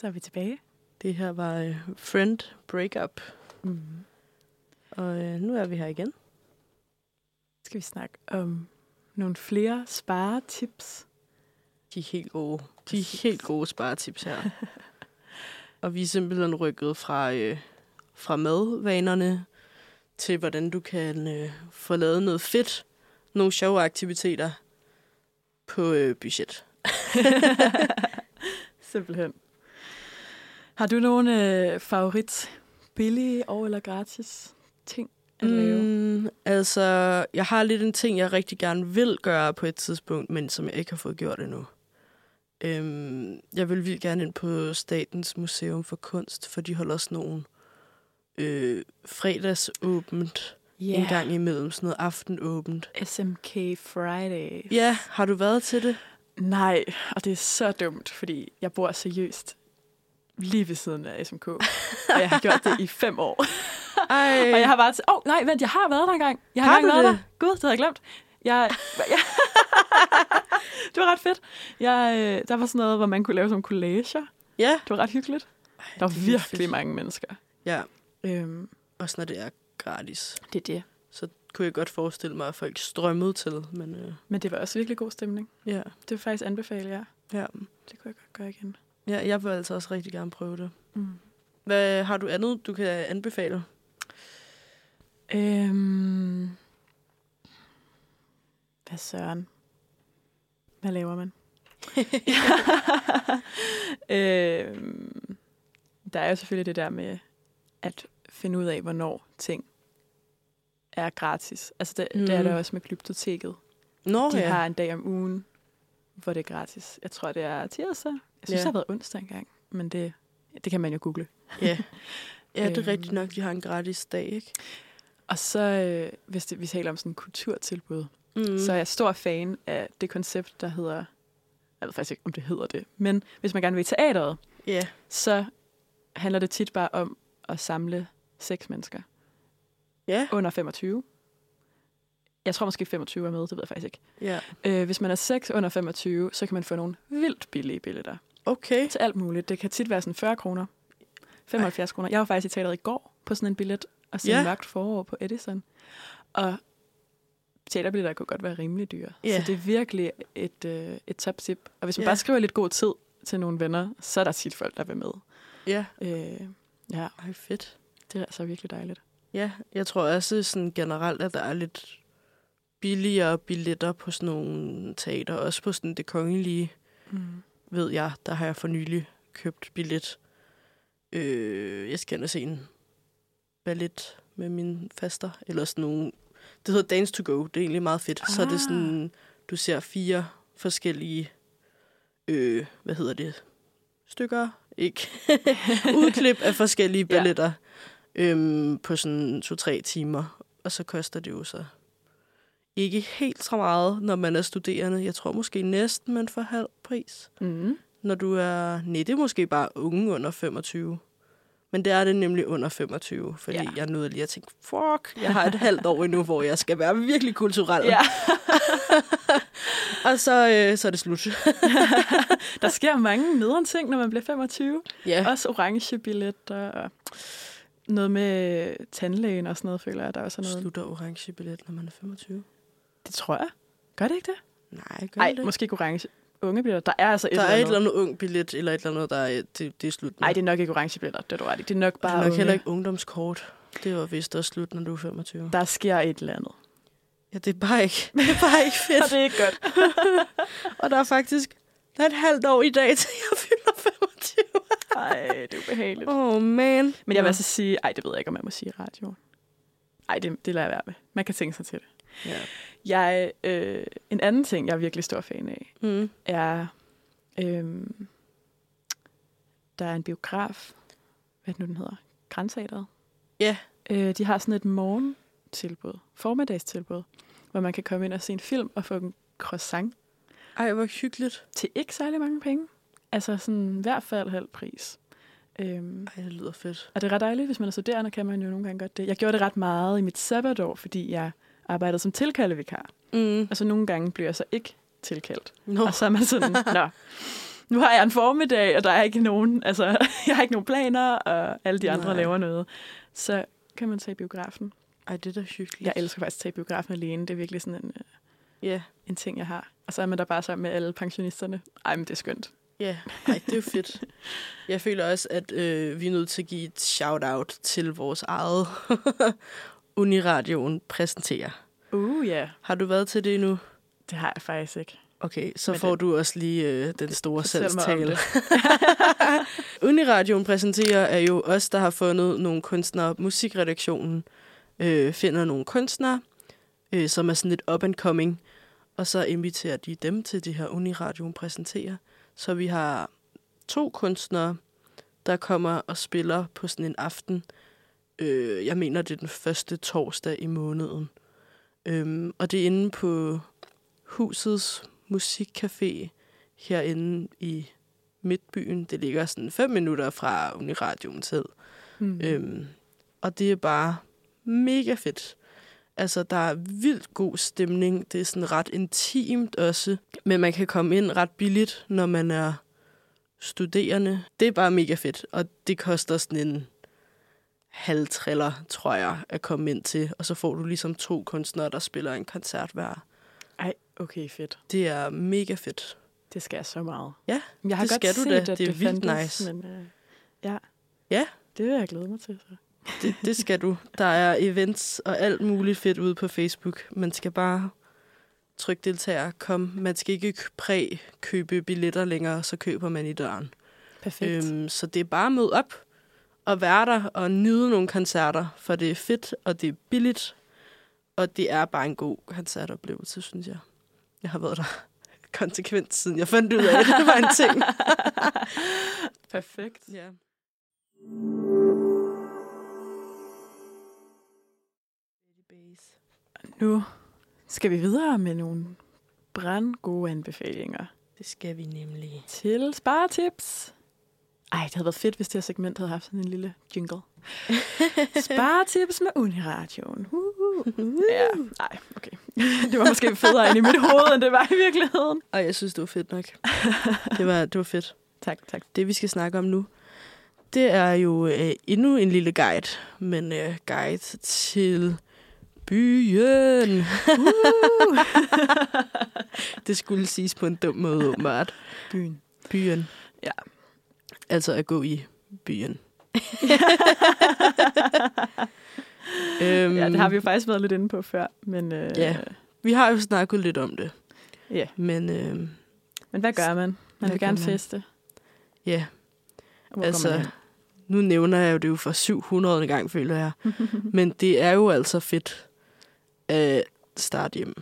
Speaker 2: Så er vi tilbage.
Speaker 1: Det her var øh, Friend Breakup, Mm-hmm.
Speaker 2: Mm.
Speaker 1: og øh, nu er vi her igen.
Speaker 2: Skal vi snakke om nogle flere sparetips?
Speaker 1: De er helt gode. De
Speaker 2: Præcis.
Speaker 1: er helt gode sparetips her. og vi er simpelthen rykket fra, øh, fra madvanerne til, hvordan du kan øh, få lavet noget fedt, nogle sjove aktiviteter på øh, budget.
Speaker 2: Simpelthen. Har du nogle øh, favorit billige og eller gratis ting at lave?
Speaker 1: Mm, altså, jeg har lidt en ting, jeg rigtig gerne vil gøre på et tidspunkt, men som jeg ikke har fået gjort endnu. Øhm, jeg vil vildt gerne ind på Statens Museum for Kunst, for de holder sådan nogle øh, fredagsåbent yeah. en gang imellem, sådan noget aftenåbent.
Speaker 2: SMK Friday.
Speaker 1: Ja, har du været til det?
Speaker 2: Nej, og det er så dumt, fordi jeg bor seriøst lige ved siden af SMK. og jeg har gjort det i fem år.
Speaker 1: Ej,
Speaker 2: Og jeg har bare tænkt, åh oh, nej, vent, jeg har været der engang. Jeg har,
Speaker 1: Øh. Har du
Speaker 2: engang været
Speaker 1: det?
Speaker 2: der. Gud, det havde jeg glemt. Jeg, jeg, det var ret fedt. Jeg, øh, der var sådan noget, hvor man kunne lave sådan collager.
Speaker 1: ja,
Speaker 2: Det var ret hyggeligt. Der
Speaker 1: det
Speaker 2: er
Speaker 1: er
Speaker 2: virkelig
Speaker 1: fedt.
Speaker 2: mange mennesker.
Speaker 1: Ja,
Speaker 2: Øhm,
Speaker 1: også når det er gratis.
Speaker 2: det er det.
Speaker 1: Så kunne jeg godt forestille mig, at folk strømmede til, men øh,
Speaker 2: Men det var også virkelig god stemning.
Speaker 1: ja,
Speaker 2: Det vil jeg faktisk anbefale jer.
Speaker 1: ja.
Speaker 2: Det kunne jeg godt gøre igen.
Speaker 1: ja. Jeg vil altså også rigtig gerne prøve det.
Speaker 2: Mm.
Speaker 1: Hvad har du andet, du kan anbefale?
Speaker 2: Øhm, hvad søren? Hvad laver man? øhm, der er jo selvfølgelig det der med at finde ud af, hvornår ting er gratis. Altså det, mm. det er
Speaker 1: Mm.
Speaker 2: der også med glyptoteket.
Speaker 1: Nå,
Speaker 2: De
Speaker 1: ja.
Speaker 2: har en dag om ugen, hvor det er gratis. Jeg tror, det er tirsdag. Jeg
Speaker 1: Ja.
Speaker 2: synes, det har været onsdag engang, men det, det kan man jo google.
Speaker 1: ja. Ja, det er
Speaker 2: Øhm.
Speaker 1: rigtigt nok, de har en gratis dag, ikke?
Speaker 2: Og så, øh, hvis det, vi taler om sådan kulturtilbud,
Speaker 1: Mm.
Speaker 2: mm. så er jeg stor fan af det koncept, der hedder, jeg ved faktisk ikke, om det hedder det, men hvis man gerne vil i teateret,
Speaker 1: ja.
Speaker 2: så handler det tit bare om at samle seks mennesker
Speaker 1: Ja,
Speaker 2: under 25. Jeg tror måske 25 er med, det ved jeg faktisk ikke.
Speaker 1: ja.
Speaker 2: Øh, hvis man er 6 under 25, så kan man få nogle vildt billige billetter.
Speaker 1: Okay.
Speaker 2: til alt muligt. Det kan tit være sådan 40 kroner, 75 kroner. Jeg var faktisk i teateret i går på sådan en billet og se
Speaker 1: Ja.
Speaker 2: yeah. mørkt forår på Edison. Og teaterbilletter kunne godt være rimelig dyre.
Speaker 1: Ja.
Speaker 2: Så det er virkelig et, øh, et top tip. Og hvis man
Speaker 1: Ja.
Speaker 2: bare skriver lidt god tid til nogle venner, så er der tit folk, der vil med.
Speaker 1: Ja.
Speaker 2: Øh, ja,
Speaker 1: Ej, fedt.
Speaker 2: det er altså virkelig dejligt.
Speaker 1: Ja, jeg tror også sådan generelt, at der er lidt billigere billetter på sådan nogle teater. Også på sådan det kongelige,
Speaker 2: Mm.
Speaker 1: ved jeg, der har jeg for nylig købt billet. Øh, jeg skal ind og se en ballet med min faster. Eller sådan nogle... Det hedder Dance to Go. Det er egentlig meget fedt. Ah. Så er det sådan, du ser fire forskellige... Øh, hvad hedder det? Stykker? Ikke? Udklip af forskellige
Speaker 2: Ja.
Speaker 1: balletter. Ja. Øhm, på sådan to-tre timer. Og så koster det jo så ikke helt så meget, når man er studerende. Jeg tror måske næsten, man får halv pris
Speaker 2: Mm.
Speaker 1: når du er... Nej, det er måske bare unge under 25. Men det er det nemlig under 25, fordi
Speaker 2: Ja.
Speaker 1: ja. jeg nåede lige at tænke, fuck, jeg har et halvt år endnu, hvor jeg skal være virkelig kulturel.
Speaker 2: Ja,
Speaker 1: Og så, øh, så er det slut.
Speaker 2: der sker mange nederen ting, når man bliver 25.
Speaker 1: Ja.
Speaker 2: Også orange billetter og noget med tandlægen og sådan noget, føler jeg, der også er noget.
Speaker 1: Slutter orange billet, når man er 25?
Speaker 2: Det tror jeg. Gør det ikke det?
Speaker 1: Nej, gør
Speaker 2: Nej,
Speaker 1: det?
Speaker 2: måske ikke orange. Unge billetter. Der er altså et
Speaker 1: Der
Speaker 2: eller
Speaker 1: er et
Speaker 2: andet.
Speaker 1: eller andet ung billet, eller et eller andet, der er, det, det er slut nu.
Speaker 2: Nej, det er nok ikke orange billetter. Det er du ret i. Det er nok
Speaker 1: bare det
Speaker 2: bare
Speaker 1: er nok
Speaker 2: unge.
Speaker 1: heller ikke ungdomskort. Det var vist også slut, når du er 25.
Speaker 2: Der sker et eller andet.
Speaker 1: Ja, det er bare ikke, det er bare ikke
Speaker 2: Og
Speaker 1: fedt.
Speaker 2: det er ikke godt.
Speaker 1: Og der er faktisk der er et halvt år i dag, til jeg fylder 25.
Speaker 2: Ej, det er ubehageligt.
Speaker 1: Åh, oh, man.
Speaker 2: Men jeg vil
Speaker 1: Nå.
Speaker 2: altså sige, ej, det ved jeg ikke, om man må sige i radioen. Ej, det, det lader jeg være med. Man kan tænke sig til det.
Speaker 1: Ja.
Speaker 2: Jeg, øh, en anden ting, jeg er virkelig stor fan af,
Speaker 1: Mm.
Speaker 2: er, øh, der er en biograf, hvad er det nu den hedder, Grandteateret.
Speaker 1: Ja.
Speaker 2: Øh, de har sådan et morgentilbud, formiddagstilbud, hvor man kan komme ind og se en film og få en croissant
Speaker 1: Ej, hvor hyggeligt.
Speaker 2: til ikke særlig mange penge. Altså sådan i hvert fald halv pris. Øhm,
Speaker 1: Ej, det lyder fedt.
Speaker 2: og det er ret dejligt, hvis man er studerende, kan man jo nogle gange godt det. Jeg gjorde det ret meget i mit sabbatår, fordi jeg arbejdede som tilkaldevikar.
Speaker 1: Mm.
Speaker 2: Og så nogle gange bliver jeg så ikke tilkaldt.
Speaker 1: Nå,
Speaker 2: Og så er man sådan, nå, nu har jeg en formiddag, og der er ikke nogen, altså, jeg har ikke nogen planer, og alle de andre Nej.
Speaker 1: Nej.
Speaker 2: laver noget. Så kan man tage i biografen.
Speaker 1: ej, det er da hyggeligt.
Speaker 2: Jeg elsker faktisk at tage i biografen alene. Det er virkelig sådan en, øh,
Speaker 1: Ja,
Speaker 2: en ting, jeg har. Og så er man der bare sammen med alle pensionisterne. Ej, men det er skønt.
Speaker 1: ja. Ej, det er jo fedt. Jeg føler også, at øh, vi er nødt til at give et shout-out til vores eget Uniradioen præsenterer.
Speaker 2: Uh, ja. Yeah.
Speaker 1: Har du været til det endnu?
Speaker 2: Det har jeg faktisk ikke.
Speaker 1: Okay, så
Speaker 2: Men
Speaker 1: får
Speaker 2: det-
Speaker 1: du også lige øh, den store
Speaker 2: Fortæl mig om
Speaker 1: salgstale.
Speaker 2: det.
Speaker 1: Uniradioen præsenterer er jo os, der har fundet nogle kunstnere. Musikredaktionen øh, finder nogle kunstnere, øh, som er sådan lidt up and coming, og så inviterer de dem til det her Uniradioen præsenterer. Så vi har to kunstnere, der kommer og spiller på sådan en aften. Øh, jeg mener, det er den første torsdag i måneden. Øhm, og det er inde på husets musikcafé herinde i Midtbyen. Det ligger sådan fem minutter fra Uniradioen selv.
Speaker 2: Mm.
Speaker 1: Øhm, og det er bare mega fedt. Altså, der er vildt god stemning. Det er sådan ret intimt også. Men man kan komme ind ret billigt, når man er studerende. Det er bare mega fedt, og det koster sådan en halv triller, tror jeg, at komme ind til. Og så får du ligesom to kunstnere, der spiller en koncert hver.
Speaker 2: Ej, okay, fedt.
Speaker 1: Det er mega fedt.
Speaker 2: Det skal jeg så meget.
Speaker 1: Ja,
Speaker 2: Men jeg har
Speaker 1: det
Speaker 2: godt
Speaker 1: skal du
Speaker 2: set,
Speaker 1: da.
Speaker 2: At
Speaker 1: Det
Speaker 2: det,
Speaker 1: er vildt
Speaker 2: fandtes,
Speaker 1: nice.
Speaker 2: Men, øh, ja.
Speaker 1: Ja.
Speaker 2: Det vil jeg glæde mig til. Så.
Speaker 1: Det, det skal du. Der er events og alt muligt fedt ude på Facebook. Man skal bare trykke deltager. Kom, man skal ikke k- præ-købe billetter længere, så køber man i døren.
Speaker 2: Perfekt. Øhm.
Speaker 1: Øhm, så det er bare at møde op og være der og nyde nogle koncerter, for det er fedt, og det er billigt, og det er bare en god koncertoplevelse, synes jeg. Jeg har været der konsekvent, siden jeg fandt ud af, at det var en ting.
Speaker 2: Perfekt.
Speaker 1: ja.
Speaker 2: Nu skal vi videre med nogle brandgode anbefalinger
Speaker 1: Det skal vi nemlig.
Speaker 2: til sparetips. Ej, det havde været fedt, hvis det her segment havde haft sådan en lille jingle. Sparetips med Uniradioen. Uh, uh. Ja, nej, okay. Det var måske federe end i mit hoved, end det var i virkeligheden.
Speaker 1: Og jeg synes, det var fedt nok. Det var, det var fedt.
Speaker 2: Tak, tak.
Speaker 1: det vi skal snakke om nu, det er jo øh, endnu en lille guide, men øh, guide til byen.
Speaker 2: Uh.
Speaker 1: Det skulle siges på en dum måde, åbenbart.
Speaker 2: Byen.
Speaker 1: Byen.
Speaker 2: Ja.
Speaker 1: Altså at gå i byen. øhm,
Speaker 2: Ja, det har vi jo faktisk været lidt inde på før, men, øh,
Speaker 1: Ja. vi har jo snakket lidt om det,
Speaker 2: ja.
Speaker 1: men øh,
Speaker 2: men hvad gør man? Man
Speaker 1: Hvad
Speaker 2: vil
Speaker 1: gør
Speaker 2: gerne
Speaker 1: man?
Speaker 2: feste.
Speaker 1: ja,
Speaker 2: Hvor
Speaker 1: Altså,
Speaker 2: går man hen?
Speaker 1: nu nævner jeg jo det jo for 700. gang, føler jeg. Men det er jo altså fedt at starte hjemme.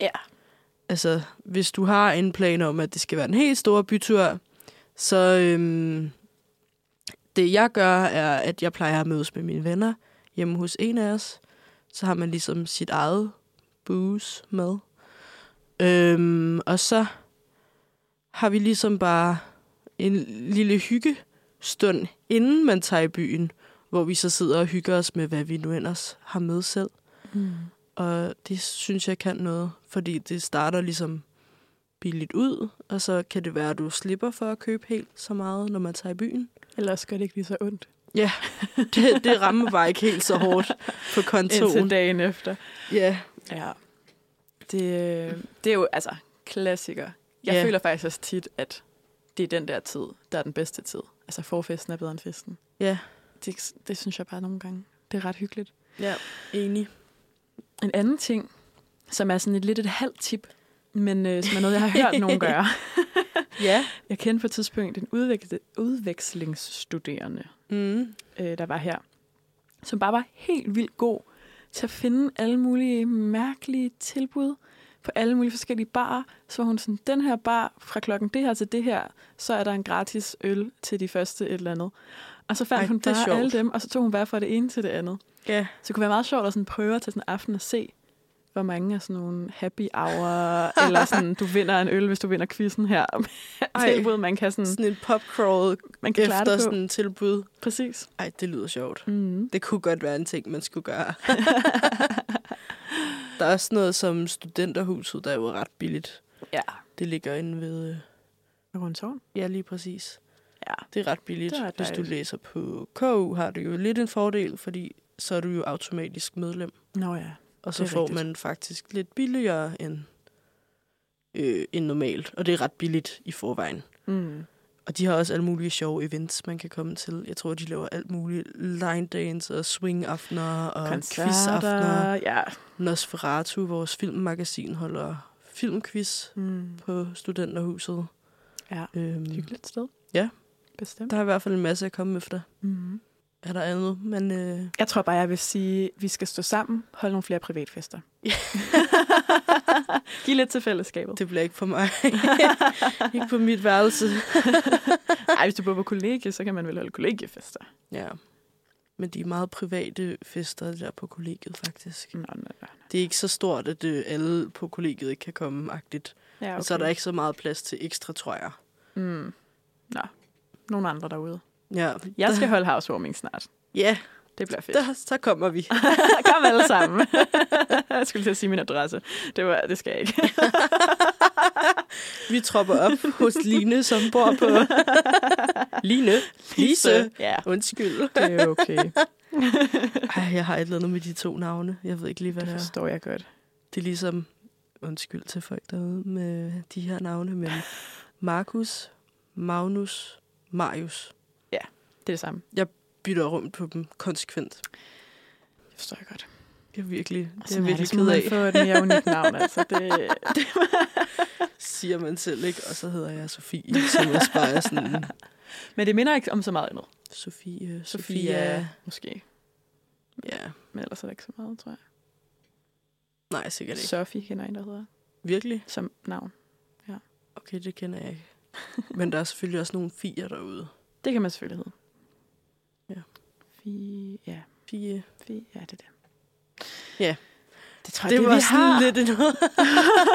Speaker 2: Ja.
Speaker 1: Altså, hvis du har en plan om, at det skal være den helt store bytur, så øhm, det jeg gør, er, at jeg plejer at mødes med mine venner hjemme hos en af os. Så har man ligesom sit eget booze med. Øhm, og så har vi ligesom bare en lille hyggestund, inden man tager i byen, hvor vi så sidder og hygger os med, hvad vi nu ellers har med selv.
Speaker 2: Mm.
Speaker 1: Og det synes jeg kan noget, fordi det starter ligesom billigt ud, og så kan det være, at du slipper for at købe helt så meget, når man tager i byen.
Speaker 2: Ellers gør det ikke lige så ondt.
Speaker 1: Det, det rammer bare ikke helt så hårdt på kontoen.
Speaker 2: Indtil dagen efter.
Speaker 1: Ja,
Speaker 2: Ja. Det, det er jo altså klassiker. Jeg
Speaker 1: Ja.
Speaker 2: føler faktisk også tit, at det er den der tid, der er den bedste tid. Altså forfesten er bedre end festen.
Speaker 1: Ja.
Speaker 2: Det, det synes jeg bare nogle gange. Det er ret hyggeligt.
Speaker 1: enig.
Speaker 2: En anden ting, som er sådan et lidt et halvt tip, men øh, som er noget, jeg har hørt nogen gøre.
Speaker 1: Ja.
Speaker 2: Jeg kendte på et tidspunkt en udveksle, udvekslingsstuderende,
Speaker 1: Mm.
Speaker 2: øh, der var her, som bare var helt vildt god til at finde alle mulige mærkelige tilbud på alle mulige forskellige barer. Så var hun sådan, den her bar fra klokken det her til det her, så er der en gratis øl til de første et eller andet. Og så fandt
Speaker 1: Ej,
Speaker 2: hun
Speaker 1: det er
Speaker 2: bare
Speaker 1: sjovt.
Speaker 2: alle dem, og så tog hun bare fra det ene til det andet.
Speaker 1: Ja.
Speaker 2: Så det kunne være meget sjovt at sådan prøve at tage sådan en aften og se, hvor mange af sådan nogle happy hour, eller sådan, du vinder en øl, hvis du vinder quizzen her.
Speaker 1: Ej.
Speaker 2: Tilbud, man kan, sådan,
Speaker 1: Sådan en popcrawl
Speaker 2: man Mm. kan klare
Speaker 1: efter
Speaker 2: det på.
Speaker 1: sådan en tilbud.
Speaker 2: Præcis.
Speaker 1: Ej, det lyder sjovt.
Speaker 2: Mm.
Speaker 1: Det kunne godt være en ting, man skulle gøre. der er også noget som studenterhuset, der er jo ret billigt.
Speaker 2: Ja.
Speaker 1: Det ligger inde ved... øh,
Speaker 2: Rundtårn.
Speaker 1: Ja, lige præcis.
Speaker 2: Ja.
Speaker 1: Det er ret billigt.
Speaker 2: Det er
Speaker 1: Er
Speaker 2: ret
Speaker 1: Hvis du
Speaker 2: dejligt.
Speaker 1: læser på KU, har du jo lidt en fordel, fordi så er du jo automatisk medlem.
Speaker 2: Nå ja.
Speaker 1: Og så
Speaker 2: Det er
Speaker 1: får
Speaker 2: rigtigt.
Speaker 1: man faktisk lidt billigere end, øh, end normalt. Og det er ret billigt i forvejen.
Speaker 2: Mm.
Speaker 1: Og de har også alle mulige sjove events, man kan komme til. Jeg tror, de laver alt muligt line dance og swing-aftener og quiz-aftener.
Speaker 2: Koncerter. Ja.
Speaker 1: Nosferatu, vores filmmagasin, holder filmquiz
Speaker 2: Mm.
Speaker 1: på studenterhuset.
Speaker 2: Ja.
Speaker 1: Øhm,
Speaker 2: Hyggeligt sted.
Speaker 1: Ja.
Speaker 2: Bestemt.
Speaker 1: der er i hvert fald en masse at komme efter.
Speaker 2: Mm.
Speaker 1: er der andet, men... Øh...
Speaker 2: Jeg tror bare, jeg vil sige, at vi skal stå sammen, holde nogle flere privatfester. Giv lidt til fællesskabet.
Speaker 1: Det bliver ikke for mig. ikke på mit værelse.
Speaker 2: Ej, hvis du bor på kollegie, så kan man vel holde kollegiefester.
Speaker 1: Ja. Men de er meget private fester der på kollegiet, faktisk.
Speaker 2: Nå, nå, nå.
Speaker 1: Det er ikke så stort, at øh, alle på kollegiet ikke kan komme, agtigt.
Speaker 2: Ja,
Speaker 1: Okay.
Speaker 2: okay.
Speaker 1: Og så er der ikke så meget plads til ekstra, tror jeg.
Speaker 2: Mm. Nå, nogle andre derude.
Speaker 1: Ja,
Speaker 2: Jeg skal holde housewarming snart.
Speaker 1: ja
Speaker 2: Det bliver fedt.
Speaker 1: der, så kommer vi.
Speaker 2: Kom alle sammen. jeg skulle til at sige min adresse. Det, var, det skal jeg ikke.
Speaker 1: Vi tropper op hos Line, som bor på... Line? Lise?
Speaker 2: Ja,
Speaker 1: Undskyld.
Speaker 2: det er okay.
Speaker 1: Ej, jeg har et eller andet med de to navne. Jeg ved ikke lige, hvad
Speaker 2: Det
Speaker 1: det er.
Speaker 2: forstår jeg godt.
Speaker 1: Det er ligesom... Undskyld til folk derude med de her navne, men Markus, Magnus, Marius.
Speaker 2: Det er det samme.
Speaker 1: Bytter rundt på dem konsekvent.
Speaker 2: Det forstår jeg godt.
Speaker 1: Det er virkelig, det er
Speaker 2: Sådan
Speaker 1: jeg
Speaker 2: det,
Speaker 1: virkelig
Speaker 2: så
Speaker 1: ked
Speaker 2: må man
Speaker 1: af.
Speaker 2: få et mere unikt navn, altså. Det,
Speaker 1: siger man selv, ikke? Og så hedder jeg Sofie, som også bare er sådan...
Speaker 2: Men det minder ikke om så meget andet.
Speaker 1: Sofie,
Speaker 2: Sofia,
Speaker 1: Sofia...
Speaker 2: måske.
Speaker 1: Ja,
Speaker 2: Men ellers er der ikke så meget, tror jeg.
Speaker 1: nej, sikkert ikke.
Speaker 2: Sophie kender en, der hedder
Speaker 1: Virkelig?
Speaker 2: som navn.
Speaker 1: Okay, det kender jeg ikke. Men der er selvfølgelig også nogle fier derude.
Speaker 2: Det kan man selvfølgelig hedde.
Speaker 1: Ja.
Speaker 2: Fie, ja.
Speaker 1: Fie.
Speaker 2: Fie, ja, det er det.
Speaker 1: Ja.
Speaker 2: Det tror jeg,
Speaker 1: Det,
Speaker 2: det,
Speaker 1: var
Speaker 2: vi har.
Speaker 1: sådan lidt en...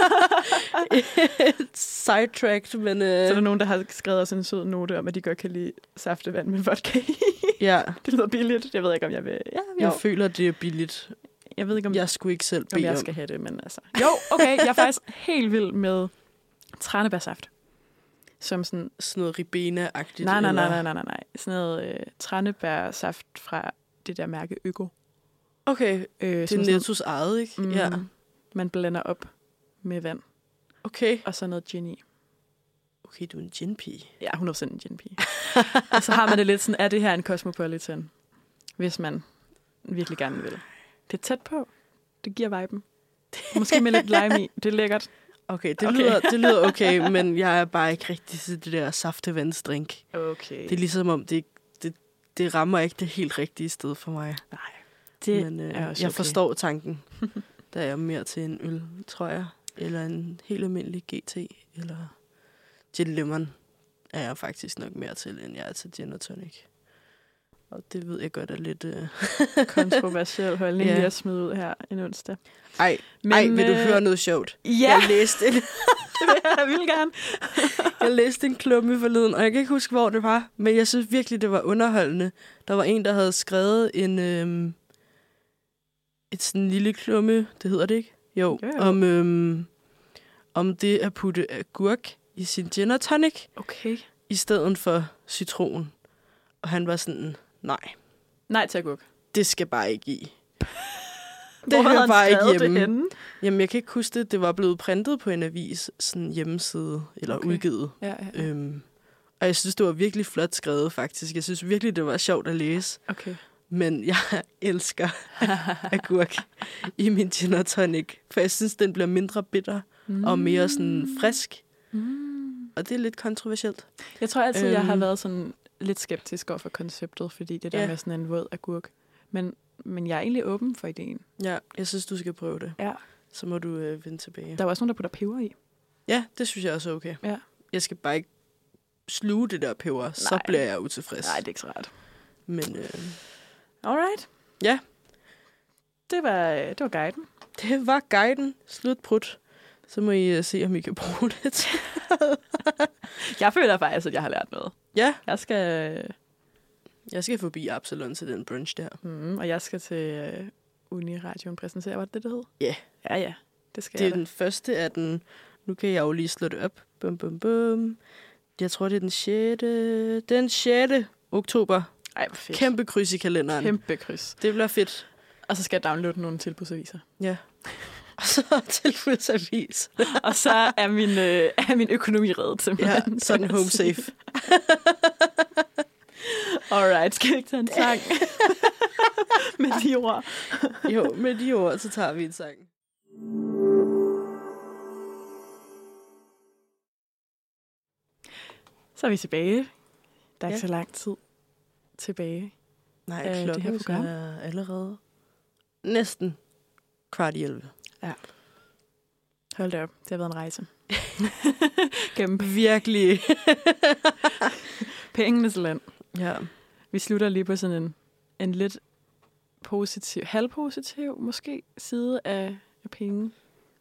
Speaker 1: Et sidetracked, men...
Speaker 2: Så er der
Speaker 1: Øh,
Speaker 2: nogen, der har skrevet os en sød note om, at de godt kan lide saftevand med vodka i.
Speaker 1: ja,
Speaker 2: det lyder billigt. Jeg ved ikke, om jeg vil... Ja, jo.
Speaker 1: jeg føler, det er billigt.
Speaker 2: Jeg ved ikke, om, jeg,
Speaker 1: Jeg skulle ikke selv
Speaker 2: om
Speaker 1: bede
Speaker 2: jeg
Speaker 1: om.
Speaker 2: skal have det, men altså... Jo, okay, jeg er faktisk helt vild med tranebærsaft. Som sådan...
Speaker 1: Sådan noget ribena-agtigt.
Speaker 2: Nej, nej, nej,
Speaker 1: eller-
Speaker 2: nej, nej, nej, nej. Sådan noget øh, tranebærsaft fra det der mærke Øko.
Speaker 1: Okay,
Speaker 2: Øh,
Speaker 1: det er Nettos eget, ikke?
Speaker 2: mm,
Speaker 1: Ja.
Speaker 2: Man blander op med vand
Speaker 1: Okay.
Speaker 2: og så noget gin i.
Speaker 1: Okay, du er en gin-pige.
Speaker 2: Ja, 100% en gin-pige. og så har man det lidt sådan, er det her en cosmopolitan? Hvis man virkelig gerne vil. Det er tæt på. Det giver viben. Måske med lidt lime i. Det er lækkert.
Speaker 1: Okay, det,
Speaker 2: Okay.
Speaker 1: okay. Lyder, det lyder okay, men jeg er bare ikke rigtig til det der saftevandsdrink.
Speaker 2: Okay.
Speaker 1: Det er ligesom om, det, ikke- det, det rammer ikke det helt rigtige sted for mig.
Speaker 2: Nej. Det
Speaker 1: men øh,
Speaker 2: er også
Speaker 1: jeg
Speaker 2: okay.
Speaker 1: forstår tanken. Der er jeg mere til en øl, tror jeg. Eller en helt almindelig GT. Eller gin lemon er jeg faktisk nok mere til, end jeg er til gin og tonic. Og det ved jeg godt er lidt... Øh...
Speaker 2: er kontroversiel holdning,
Speaker 1: Ja.
Speaker 2: yeah. jeg smed ud her en onsdag.
Speaker 1: Ej, men, ej, vil du
Speaker 2: øh,
Speaker 1: høre noget sjovt?
Speaker 2: Ja,
Speaker 1: Jeg læste en,
Speaker 2: det vil jeg vildt gerne.
Speaker 1: Jeg læste en klumme forleden, og jeg kan ikke huske, hvor det var, men jeg synes virkelig, det var underholdende. Der var en, der havde skrevet en øhm, et sådan en lille klumme, det hedder det ikke? Jo,
Speaker 2: Jo, jo.
Speaker 1: om, øhm, om det at putte agurk i sin gin og tonic,
Speaker 2: Okay.
Speaker 1: i stedet for citron. Og han var sådan, nej,
Speaker 2: Nej til agurk.
Speaker 1: det skal bare ikke i. Det
Speaker 2: Hvor havde
Speaker 1: hører
Speaker 2: han
Speaker 1: bare ikke
Speaker 2: skrevet det
Speaker 1: hjemme.
Speaker 2: henne?
Speaker 1: Jamen, jeg kan ikke huske det. Det var blevet printet på en avis, sådan hjemmeside, eller
Speaker 2: Okay.
Speaker 1: okay. udgivet.
Speaker 2: Ja, ja.
Speaker 1: Øhm, og jeg synes, det var virkelig flot skrevet, faktisk. Jeg synes virkelig, det var sjovt at læse.
Speaker 2: Okay.
Speaker 1: Men jeg elsker agurk i min gin og tonic. For jeg synes, den bliver mindre bitter og mere sådan frisk.
Speaker 2: Mm.
Speaker 1: Og det er lidt kontroversielt.
Speaker 2: Jeg tror altid, øhm. jeg har
Speaker 1: Øhm.
Speaker 2: været sådan lidt skeptisk over for konceptet, fordi det der
Speaker 1: Ja.
Speaker 2: med sådan en våd agurk. Men, men jeg er egentlig åben for ideen.
Speaker 1: Ja, jeg synes, du skal prøve det.
Speaker 2: Ja.
Speaker 1: Så må du øh, vende tilbage.
Speaker 2: Der er jo også nogen, der putter peber i.
Speaker 1: Ja, det synes jeg også er okay.
Speaker 2: Ja.
Speaker 1: Jeg skal bare ikke sluge det der peber, Nej. så
Speaker 2: Nej.
Speaker 1: bliver jeg utilfreds.
Speaker 2: Nej, det er ikke så rart.
Speaker 1: Men øh,
Speaker 2: Alright.
Speaker 1: Ja.
Speaker 2: Det var, øh, det var guiden.
Speaker 1: det var guiden. Slut prut. Så må I øh, se, om I kan bruge det til.
Speaker 2: Jeg føler faktisk, at jeg har lært noget.
Speaker 1: Ja,
Speaker 2: Jeg skal... øh,
Speaker 1: jeg skal forbi Absalon til den brunch der.
Speaker 2: Mm, og jeg skal til øh, Uniradioen præsentere, var det det, det hed?
Speaker 1: Ja.
Speaker 2: Ja, ja. Det skal
Speaker 1: Det er
Speaker 2: jeg da.
Speaker 1: den første af den... Nu kan jeg jo lige slå det op. Bum, bum, bum. Jeg tror, det er den 6. Den 6. oktober.
Speaker 2: Ej, hvor fedt.
Speaker 1: Kæmpe kryds i kalenderen. Kæmpe.
Speaker 2: Kæmpe kryds.
Speaker 1: Det bliver fedt.
Speaker 2: Og så skal jeg downloade nogle tilbudsaviser.
Speaker 1: Ja. Og så tilbudsavis.
Speaker 2: og så er min, øh, er min økonomi reddet til
Speaker 1: Ja, sådan home safe.
Speaker 2: Alright, skal vi ikke tage en sang med de ord?
Speaker 1: Jo, med de ord, så tager vi en sang.
Speaker 2: Så er vi tilbage. Der er ikke
Speaker 1: Ja.
Speaker 2: så lang tid tilbage.
Speaker 1: Nej,
Speaker 2: Øh, det her
Speaker 1: klokken det
Speaker 2: program.
Speaker 1: er allerede næsten kvart i 11.
Speaker 2: Hold da op, det har været en rejse. Gennem
Speaker 1: Virkelig.
Speaker 2: pengenes land.
Speaker 1: ja.
Speaker 2: Vi slutter lige på sådan en, en lidt positiv, halvpositiv måske, side af, af penge.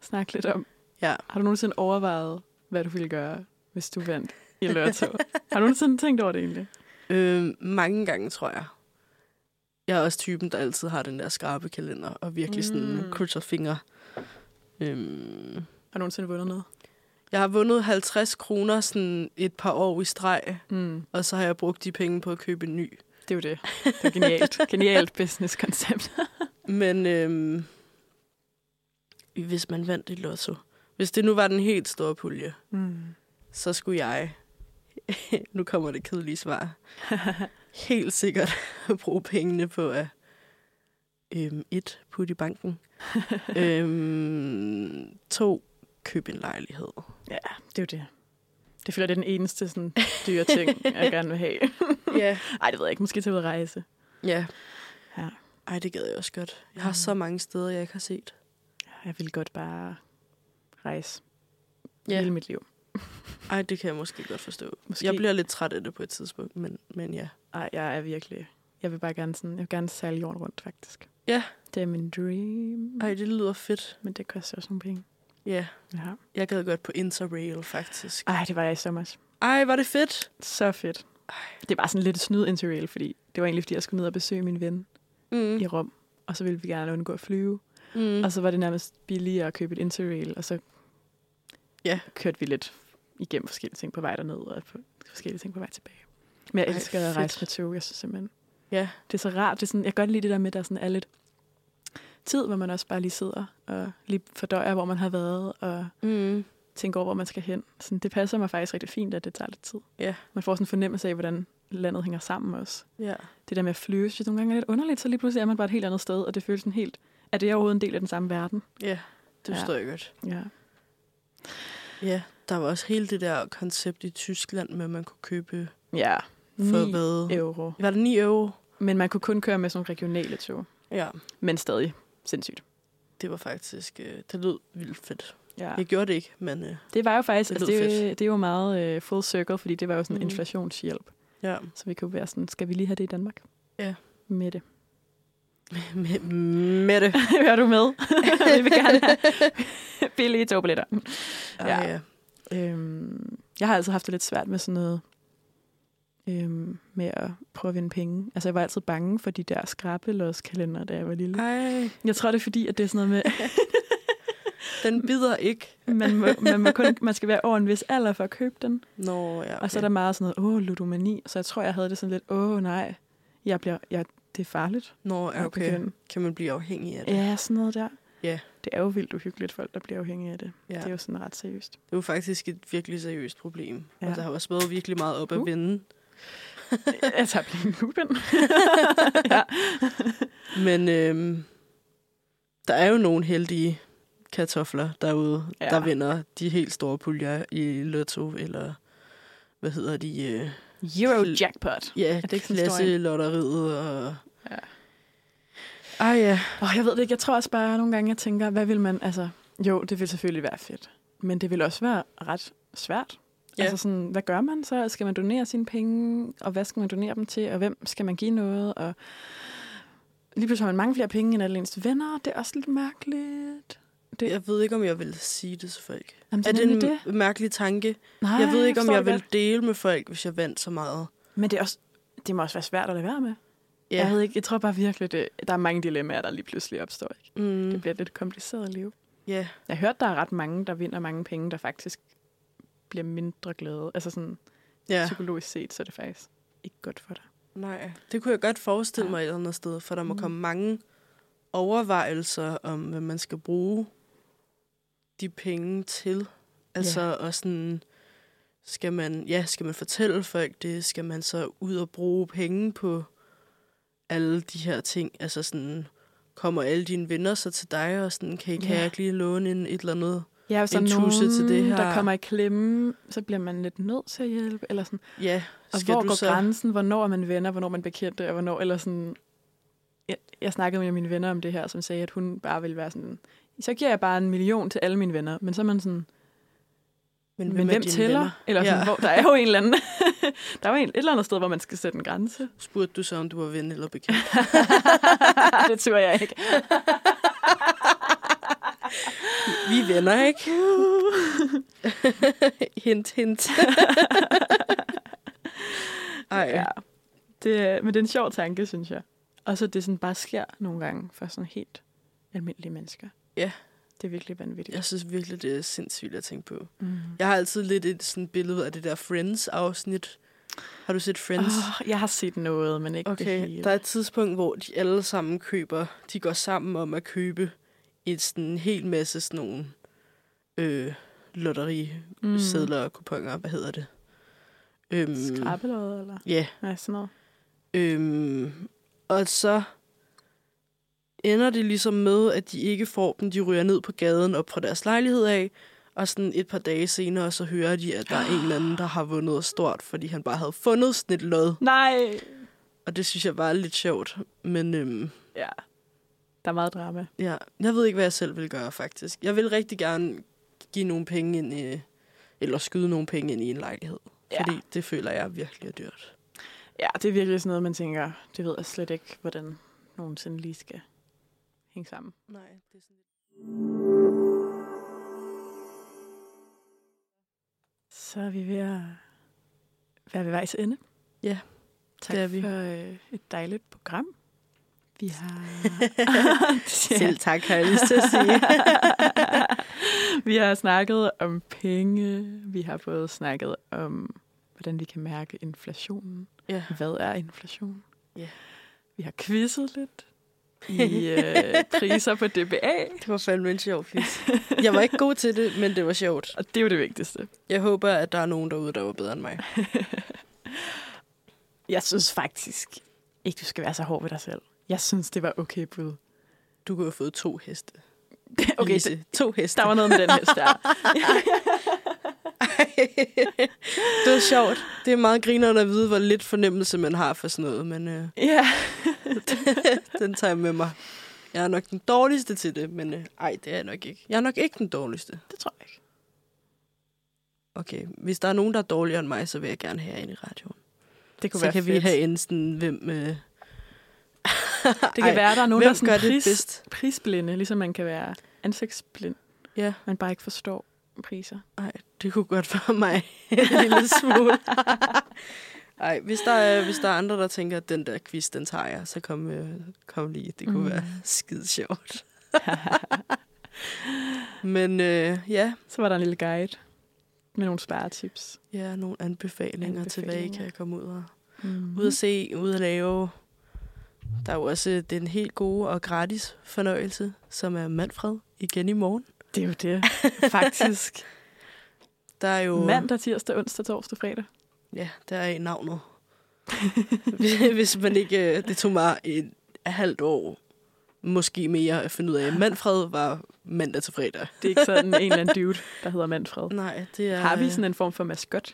Speaker 2: Snak lidt om.
Speaker 1: Ja.
Speaker 2: Har du nogensinde overvejet, hvad du ville gøre, hvis du vandt i lørdag? har du nogensinde tænkt over det egentlig?
Speaker 1: Øh, mange gange, tror jeg. Jeg er også typen, der altid har den der skarpe kalender, og virkelig sådan
Speaker 2: Mm.
Speaker 1: krydser fingre. Øhm,
Speaker 2: Har du nogensinde vundet noget?
Speaker 1: Jeg har vundet 50 kroner sådan et par år i streg,
Speaker 2: Mm.
Speaker 1: og så har jeg brugt de penge på at købe en ny.
Speaker 2: Det er jo det. Det er genialt. genialt business-koncept.
Speaker 1: Men øhm, hvis man vandt i lotto, hvis det nu var den helt store pulje,
Speaker 2: Mm.
Speaker 1: så skulle jeg, nu kommer det kedelige svar, helt sikkert bruge pengene på at øhm, et, putte i banken, øhm, to, købe en lejlighed.
Speaker 2: Ja, det er jo det. Det føler jeg, det er den eneste sådan, dyre ting, jeg gerne vil have.
Speaker 1: Ja.
Speaker 2: Ej, det ved jeg ikke. Måske tage ud at rejse.
Speaker 1: ja. Mm.
Speaker 2: Ja.
Speaker 1: Ej, det gad jeg også godt. Jeg har så mange steder, jeg ikke har set.
Speaker 2: Jeg vil godt bare rejse
Speaker 1: Ja.
Speaker 2: hele mit liv.
Speaker 1: Ej, det kan jeg måske godt forstå.
Speaker 2: Måske.
Speaker 1: Måske. Jeg bliver lidt træt af det på et tidspunkt, men, men ja.
Speaker 2: Ej, jeg er virkelig... Jeg vil bare gerne sådan... Jeg vil gerne sejle jorden rundt, faktisk.
Speaker 1: Ja.
Speaker 2: Det er min dream.
Speaker 1: Ej, det lyder fedt.
Speaker 2: Men det koster også nogle penge.
Speaker 1: Mm. Ja,
Speaker 2: Ja.
Speaker 1: jeg gad godt på Interrail, faktisk.
Speaker 2: Ej, det var jeg i sommer.
Speaker 1: Ej, var det fedt.
Speaker 2: Så fedt. Det var sådan lidt snyd interrail, fordi det var egentlig, fordi jeg skulle ned og besøge min ven
Speaker 1: Mm.
Speaker 2: i Rom. Og så ville vi gerne undgå at flyve.
Speaker 1: Mm.
Speaker 2: Og så var det nærmest billigere at købe et interrail. Og så
Speaker 1: Ja.
Speaker 2: kørte vi lidt igennem forskellige ting på vej derned, og på forskellige ting på vej tilbage. Men jeg
Speaker 1: Ej,
Speaker 2: elsker at
Speaker 1: fedt.
Speaker 2: rejse med tog. Jeg synes simpelthen,
Speaker 1: Ja.
Speaker 2: det er så rart. Det er sådan, jeg kan godt lide det der med, at der sådan er lidt tid, hvor man også bare lige sidder og lige fordøjer, hvor man har været, og
Speaker 1: Mm.
Speaker 2: tænker over, hvor man skal hen. Sådan, det passer mig faktisk rigtig fint, at det tager lidt tid.
Speaker 1: Ja.
Speaker 2: Man får sådan en fornemmelse af, hvordan landet hænger sammen også.
Speaker 1: Ja.
Speaker 2: Det der med at flyve, synes jeg nogle gange er lidt underligt, så lige pludselig er man bare et helt andet sted, og det føles sådan helt, er det overhovedet en del af den samme verden?
Speaker 1: Ja, det
Speaker 2: Ja.
Speaker 1: forstår jeg godt.
Speaker 2: Ja.
Speaker 1: Ja, der var også hele det der koncept i Tyskland med, at man kunne købe
Speaker 2: Ja.
Speaker 1: for
Speaker 2: 9
Speaker 1: hvad?
Speaker 2: euro.
Speaker 1: Var det 9 euro?
Speaker 2: Men man kunne kun køre med sådan nogle regionale tog.
Speaker 1: Ja,
Speaker 2: Men stadig sindssygt.
Speaker 1: det var faktisk... Øh, det lød vildt fedt.
Speaker 2: Ja.
Speaker 1: Jeg gjorde det ikke, men øh,
Speaker 2: Det var jo faktisk,
Speaker 1: Det
Speaker 2: altså,
Speaker 1: lød
Speaker 2: det, er jo-
Speaker 1: fedt.
Speaker 2: det er jo meget øh, full circle, fordi det var jo sådan en
Speaker 1: Mhm.
Speaker 2: inflationshjælp.
Speaker 1: ja.
Speaker 2: Så vi kunne være sådan, skal vi lige have det i Danmark?
Speaker 1: Ja.
Speaker 2: Med det.
Speaker 1: Med, med det.
Speaker 2: Hører du med? vi vil gerne have billige togbilletter. Ja.
Speaker 1: Ej, ja.
Speaker 2: Øhm, jeg har altid haft det lidt svært med sådan noget øhm, med at prøve at vinde penge. Altså, jeg var altid bange for de der skrabelåskalender, da jeg var
Speaker 1: Ah.
Speaker 2: lille.
Speaker 1: Ej,
Speaker 2: Jeg tror, det er fordi, at det er sådan noget med,
Speaker 1: den bider ikke.
Speaker 2: man, må, man, må kun, man skal være over en vis alder for at købe den.
Speaker 1: Nå, ja. Okay.
Speaker 2: Og så er der meget sådan noget, åh, ludomani. Så jeg tror, jeg havde det sådan lidt, åh nej, jeg bliver, jeg, det er farligt.
Speaker 1: Nå, ja,
Speaker 2: at
Speaker 1: okay.
Speaker 2: begynde."
Speaker 1: Kan man blive afhængig af det?
Speaker 2: Ja, sådan noget der.
Speaker 1: Ja.
Speaker 2: Det er jo vildt uhyggeligt, folk, der bliver afhængige af det.
Speaker 1: Ja.
Speaker 2: Det er jo sådan ret seriøst.
Speaker 1: Det var faktisk et virkelig seriøst problem. Ja.
Speaker 2: Ja.
Speaker 1: Og der har også været virkelig meget op at
Speaker 2: Uh.
Speaker 1: vinde.
Speaker 2: jeg tager blive lupen. ja.
Speaker 1: Men øhm, der er jo nogle heldige kartofler derude,
Speaker 2: Ja.
Speaker 1: ja. der vinder de helt store puljer i Lotto, eller hvad hedder de? Øh,
Speaker 2: Eurojackpot.
Speaker 1: ja,
Speaker 2: det
Speaker 1: det
Speaker 2: ikke sådan en stor en?
Speaker 1: klasselotteriet. Og...
Speaker 2: Ja.
Speaker 1: Ja. Ej ja,
Speaker 2: Åh, jeg ved det ikke. Jeg tror også bare nogle gange, jeg tænker, hvad vil man, altså, jo, det vil selvfølgelig være fedt. Men det vil også være ret svært. Ja.
Speaker 1: Ja.
Speaker 2: Altså sådan, hvad gør man så? Skal man donere sine penge? Og hvad skal man donere dem til? Og hvem skal man give noget? Og lige pludselig har man mange flere penge end alle ens venner. Det er også lidt mærkeligt. Det-
Speaker 1: jeg ved ikke, om jeg vil sige det til folk.
Speaker 2: Jamen,
Speaker 1: er det en
Speaker 2: nemlig
Speaker 1: det? mærkelig tanke?
Speaker 2: Nej,
Speaker 1: Ej, jeg ved ikke, om
Speaker 2: forstår
Speaker 1: jeg
Speaker 2: det
Speaker 1: vil dele med folk, hvis jeg vandt så meget.
Speaker 2: godt. Men det, er også, det må også være svært at lade være med.
Speaker 1: Ja,
Speaker 2: Jeg ved ikke, jeg tror bare virkelig, det, der er mange dilemmaer, der lige pludselig opstår. Ikke?
Speaker 1: mm,
Speaker 2: Det bliver et lidt kompliceret liv.
Speaker 1: ja.
Speaker 2: Jeg har hørt, der er ret mange, der vinder mange penge, der faktisk bliver mindre glade. Altså sådan ja.
Speaker 1: ja.
Speaker 2: psykologisk set, så er det faktisk ikke godt for dig.
Speaker 1: Nej, det kunne jeg godt forestille
Speaker 2: Ja.
Speaker 1: mig et eller andet sted, for der må
Speaker 2: Mm.
Speaker 1: komme mange overvejelser om, hvad man skal bruge de penge til. Altså, yeah. og sådan, skal man, ja, skal man fortælle folk det? Skal man så ud og bruge penge på alle de her ting? Altså sådan, kommer alle dine venner så til dig, og sådan, kan, I, kan
Speaker 2: Ja.
Speaker 1: jeg ikke lige låne en, et eller andet?
Speaker 2: Ja, hvis der er
Speaker 1: En tusse
Speaker 2: nogen,
Speaker 1: til det her.
Speaker 2: der kommer i klemme, så bliver man lidt nødt til at hjælpe. Eller sådan.
Speaker 1: Ja,
Speaker 2: Og hvor går grænsen? Hvornår er man venner? Hvornår er man bekendte? Og hvornår, eller sådan... Jeg, jeg snakkede med mine venner om det her, som sagde, at hun bare ville være sådan... Så giver jeg bare en million til alle mine venner. Men så er man sådan, men, men
Speaker 1: er
Speaker 2: hvem
Speaker 1: dine
Speaker 2: tæller?
Speaker 1: venner?
Speaker 2: Eller sådan,
Speaker 1: Ja.
Speaker 2: hvor, der er jo en eller anden... der er jo en, et eller andet sted, hvor man skal sætte en grænse.
Speaker 1: Spurgte du så, om du var ven eller bekendt?
Speaker 2: det tror jeg ikke.
Speaker 1: Vi er venner, ikke? Uh. hint, hint. Ej, ja.
Speaker 2: Det, er- men det er en sjov tanke, synes jeg. Og så det sådan bare sker nogle gange for sådan helt almindelige mennesker.
Speaker 1: Ja.
Speaker 2: Det er virkelig vanvittigt.
Speaker 1: Jeg synes virkelig, det er sindssygt at tænke på.
Speaker 2: Mm.
Speaker 1: Jeg har altid lidt et sådan billede af det der Friends-afsnit. Har du set Friends?
Speaker 2: Oh, jeg har set noget, men ikke det
Speaker 1: Okay,
Speaker 2: hele.
Speaker 1: der er et tidspunkt, hvor de alle sammen køber, de går sammen om at købe et sådan en hel masse sådan nogle øh, lotteri-sædler
Speaker 2: mm.
Speaker 1: og kuponer, hvad hedder det? Øhm,
Speaker 2: Skrabbelød, eller?
Speaker 1: Ja,
Speaker 2: Ja, sådan noget.
Speaker 1: øhm, og så ender det ligesom med, at de ikke får dem, de ryger ned på gaden op fra deres lejlighed af, og sådan et par dage senere, så hører de, at der er en eller anden, der har vundet stort, fordi han bare havde fundet sådan et lod.
Speaker 2: Nej!
Speaker 1: Og det synes jeg var lidt sjovt, men... Øhm,
Speaker 2: Ja. Der er meget drama.
Speaker 1: Ja, jeg ved ikke, hvad jeg selv vil gøre, faktisk. Jeg vil rigtig gerne give nogle penge ind i, eller skyde nogle penge ind i en lejlighed.
Speaker 2: Ja.
Speaker 1: Ja. Fordi det føler jeg virkelig er dyrt.
Speaker 2: Ja, det er virkelig sådan noget, man tænker, det ved jeg slet ikke, hvordan nogensinde lige skal hænge sammen.
Speaker 1: Nej, det er sådan...
Speaker 2: Så er vi ved at være ved vejs ende.
Speaker 1: Ja,
Speaker 2: tak
Speaker 1: det er vi.
Speaker 2: for øh, et dejligt program. Vi har...
Speaker 1: Selv tak, har jeg lyst til at sige.
Speaker 2: vi har snakket om penge. Vi har både snakket om, hvordan vi kan mærke inflationen.
Speaker 1: ja.
Speaker 2: Hvad er inflation?
Speaker 1: Ja.
Speaker 2: Vi har quizzet lidt i øh, priser på DBA.
Speaker 1: Det var fandme en sjov quiz. Jeg var ikke god til det, men det var sjovt.
Speaker 2: Og det er jo det vigtigste.
Speaker 1: Jeg håber, at der er nogen derude, der var bedre end mig.
Speaker 2: Jeg synes faktisk ikke, du skal være så hård ved dig selv. Jeg synes, det var okay bud.
Speaker 1: Du kunne have fået to heste.
Speaker 2: Okay,
Speaker 1: Lise. to heste.
Speaker 2: der var noget med den hest der.
Speaker 1: det var sjovt. Det er meget grinerende at vide, hvor lidt fornemmelse man har for sådan noget, men... Øh...
Speaker 2: Ja.
Speaker 1: den tager jeg med mig. Jeg er nok den dårligste til det, men øh, ej, det er jeg nok ikke. Jeg er nok ikke den dårligste.
Speaker 2: Det tror jeg ikke.
Speaker 1: Okay, hvis der er nogen, der er dårligere end mig, så vil jeg gerne have jer ind i radioen.
Speaker 2: Det kunne
Speaker 1: Så
Speaker 2: være
Speaker 1: kan vi
Speaker 2: fedt.
Speaker 1: have en sådan, hvem... Øh...
Speaker 2: Det kan Ej, være, der er nogen, der er
Speaker 1: hvem
Speaker 2: sådan
Speaker 1: gør det
Speaker 2: pris,
Speaker 1: bedst?
Speaker 2: prisblinde, ligesom man kan være ansigtsblind.
Speaker 1: Ja.
Speaker 2: Man bare ikke forstår priser.
Speaker 1: Ej, det kunne godt være mig en lille smule. Ej, hvis der, er, hvis der er andre, der tænker, at den der quiz, den tager jeg, så kom, øh, kom lige. Det kunne
Speaker 2: Mm.
Speaker 1: mm. være skide sjovt. Men øh, ja,
Speaker 2: Så var der en lille guide med nogle sparetips.
Speaker 1: ja, nogle anbefalinger, anbefalinger til, hvad I
Speaker 2: Anbefalinger.
Speaker 1: kan komme ud og
Speaker 2: Mm.
Speaker 1: Ud at se, ud at lave. Der er jo også øh, den helt gode og gratis fornøjelse, som er Manfred igen i morgen.
Speaker 2: Det er jo det, faktisk.
Speaker 1: Der er jo...
Speaker 2: Mandag, tirsdag, onsdag, torsdag, fredag.
Speaker 1: Ja, der er i navnet. Hvis- Hvis man ikke... øh, Det tog mig et halvt år, måske mere, at finde ud af, at Manfred var mandag til fredag.
Speaker 2: Det er ikke sådan en eller anden dude, der hedder Manfred.
Speaker 1: Nej, det er...
Speaker 2: Har vi sådan en form for maskot,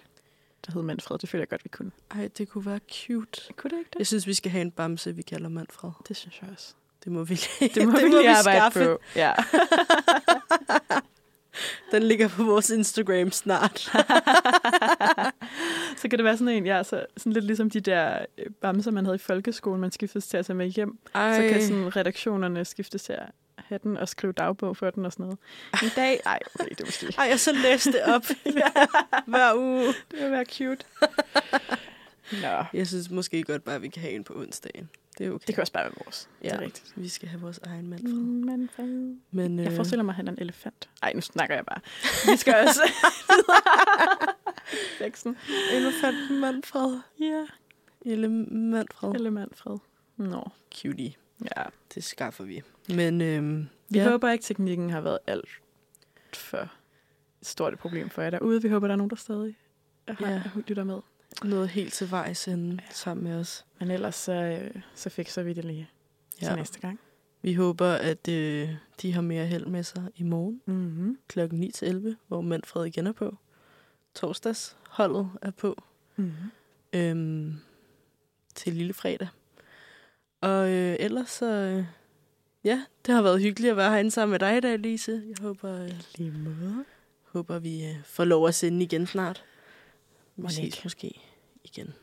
Speaker 2: der hedder Manfred? Det føler jeg godt, vi kunne.
Speaker 1: Ej, det kunne være cute.
Speaker 2: Kunne det ikke det?
Speaker 1: Jeg synes, vi skal have en bamse, vi kalder Manfred.
Speaker 2: Det synes jeg også.
Speaker 1: Det må vi,
Speaker 2: Det må, det vi lige arbejde
Speaker 1: skaffe.
Speaker 2: på. Ja.
Speaker 1: Den ligger på vores Instagram snart.
Speaker 2: så kan det være sådan en, ja, så, sådan lidt ligesom de der øh, bamser, man havde i folkeskolen, man skiftes til at tage med hjem. Ej. Så kan sådan redaktionerne skiftes til at have den og skrive dagbog for den og sådan noget. En dag, ej, okay, det er måske.
Speaker 1: Ej, og så læste det op hver uge.
Speaker 2: Det vil være cute. Nå,
Speaker 1: Jeg synes måske godt bare, at vi kan have en på onsdagen. Det er okay.
Speaker 2: det kan også bare være vores. Ja. Det er
Speaker 1: Ja.
Speaker 2: rigtigt.
Speaker 1: Vi skal have vores egen mand. Mm.
Speaker 2: Men,
Speaker 1: Men,
Speaker 2: jeg
Speaker 1: øh,
Speaker 2: forestiller mig, at han er en elefant. Nej, nu snakker jeg bare. Vi skal også... Sexen.
Speaker 1: elefanten Manfred.
Speaker 2: Ja,
Speaker 1: Lille Manfred.
Speaker 2: eller Manfred. Nå,
Speaker 1: Cutie.
Speaker 2: ja.
Speaker 1: Det skaffer vi. Men øhm,
Speaker 2: Vi ja.
Speaker 1: ja,
Speaker 2: håber ikke, teknikken har været alt for stort et problem for jer derude. Vi håber, der er nogen, der stadig har,
Speaker 1: Ja.
Speaker 2: ja. lytter med.
Speaker 1: noget helt til vejs ende sammen med os.
Speaker 2: Men ellers så, øh, så fikser vi det lige ja. til
Speaker 1: Ja.
Speaker 2: næste gang.
Speaker 1: Vi håber, at øh, de har mere held med sig i morgen
Speaker 2: Mm-hmm.
Speaker 1: kl. 9-11, hvor Manfred igen er på. Torsdagsholdet er på.
Speaker 2: Mm-hmm.
Speaker 1: øhm, til lille fredag. Og øh, ellers så, øh, ja, det har været hyggeligt at være herinde sammen med dig i dag, Lise. Jeg håber, øh,
Speaker 2: Lige måde.
Speaker 1: håber vi øh, får lov at sende igen snart.
Speaker 2: Mon
Speaker 1: Vi
Speaker 2: ikke.
Speaker 1: ses måske igen.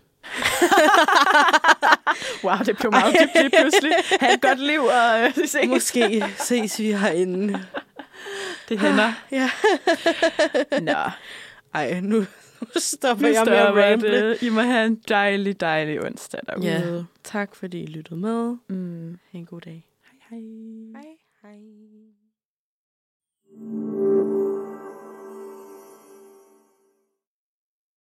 Speaker 2: Wow, det blev meget dybt lige pludselig. Ha' et godt liv, og øh, vi ses.
Speaker 1: Måske ses vi herinde.
Speaker 2: Det hænder.
Speaker 1: Ja.
Speaker 2: Nå,
Speaker 1: Ej, nu, nu stopper
Speaker 2: nu
Speaker 1: jeg med at
Speaker 2: stopper
Speaker 1: ramble.
Speaker 2: det. I må have en dejlig, dejlig onsdag derude.
Speaker 1: Tak fordi I lyttede med.
Speaker 2: Mm.
Speaker 1: Ha' en god dag.
Speaker 2: Hej, hej.
Speaker 1: Hej.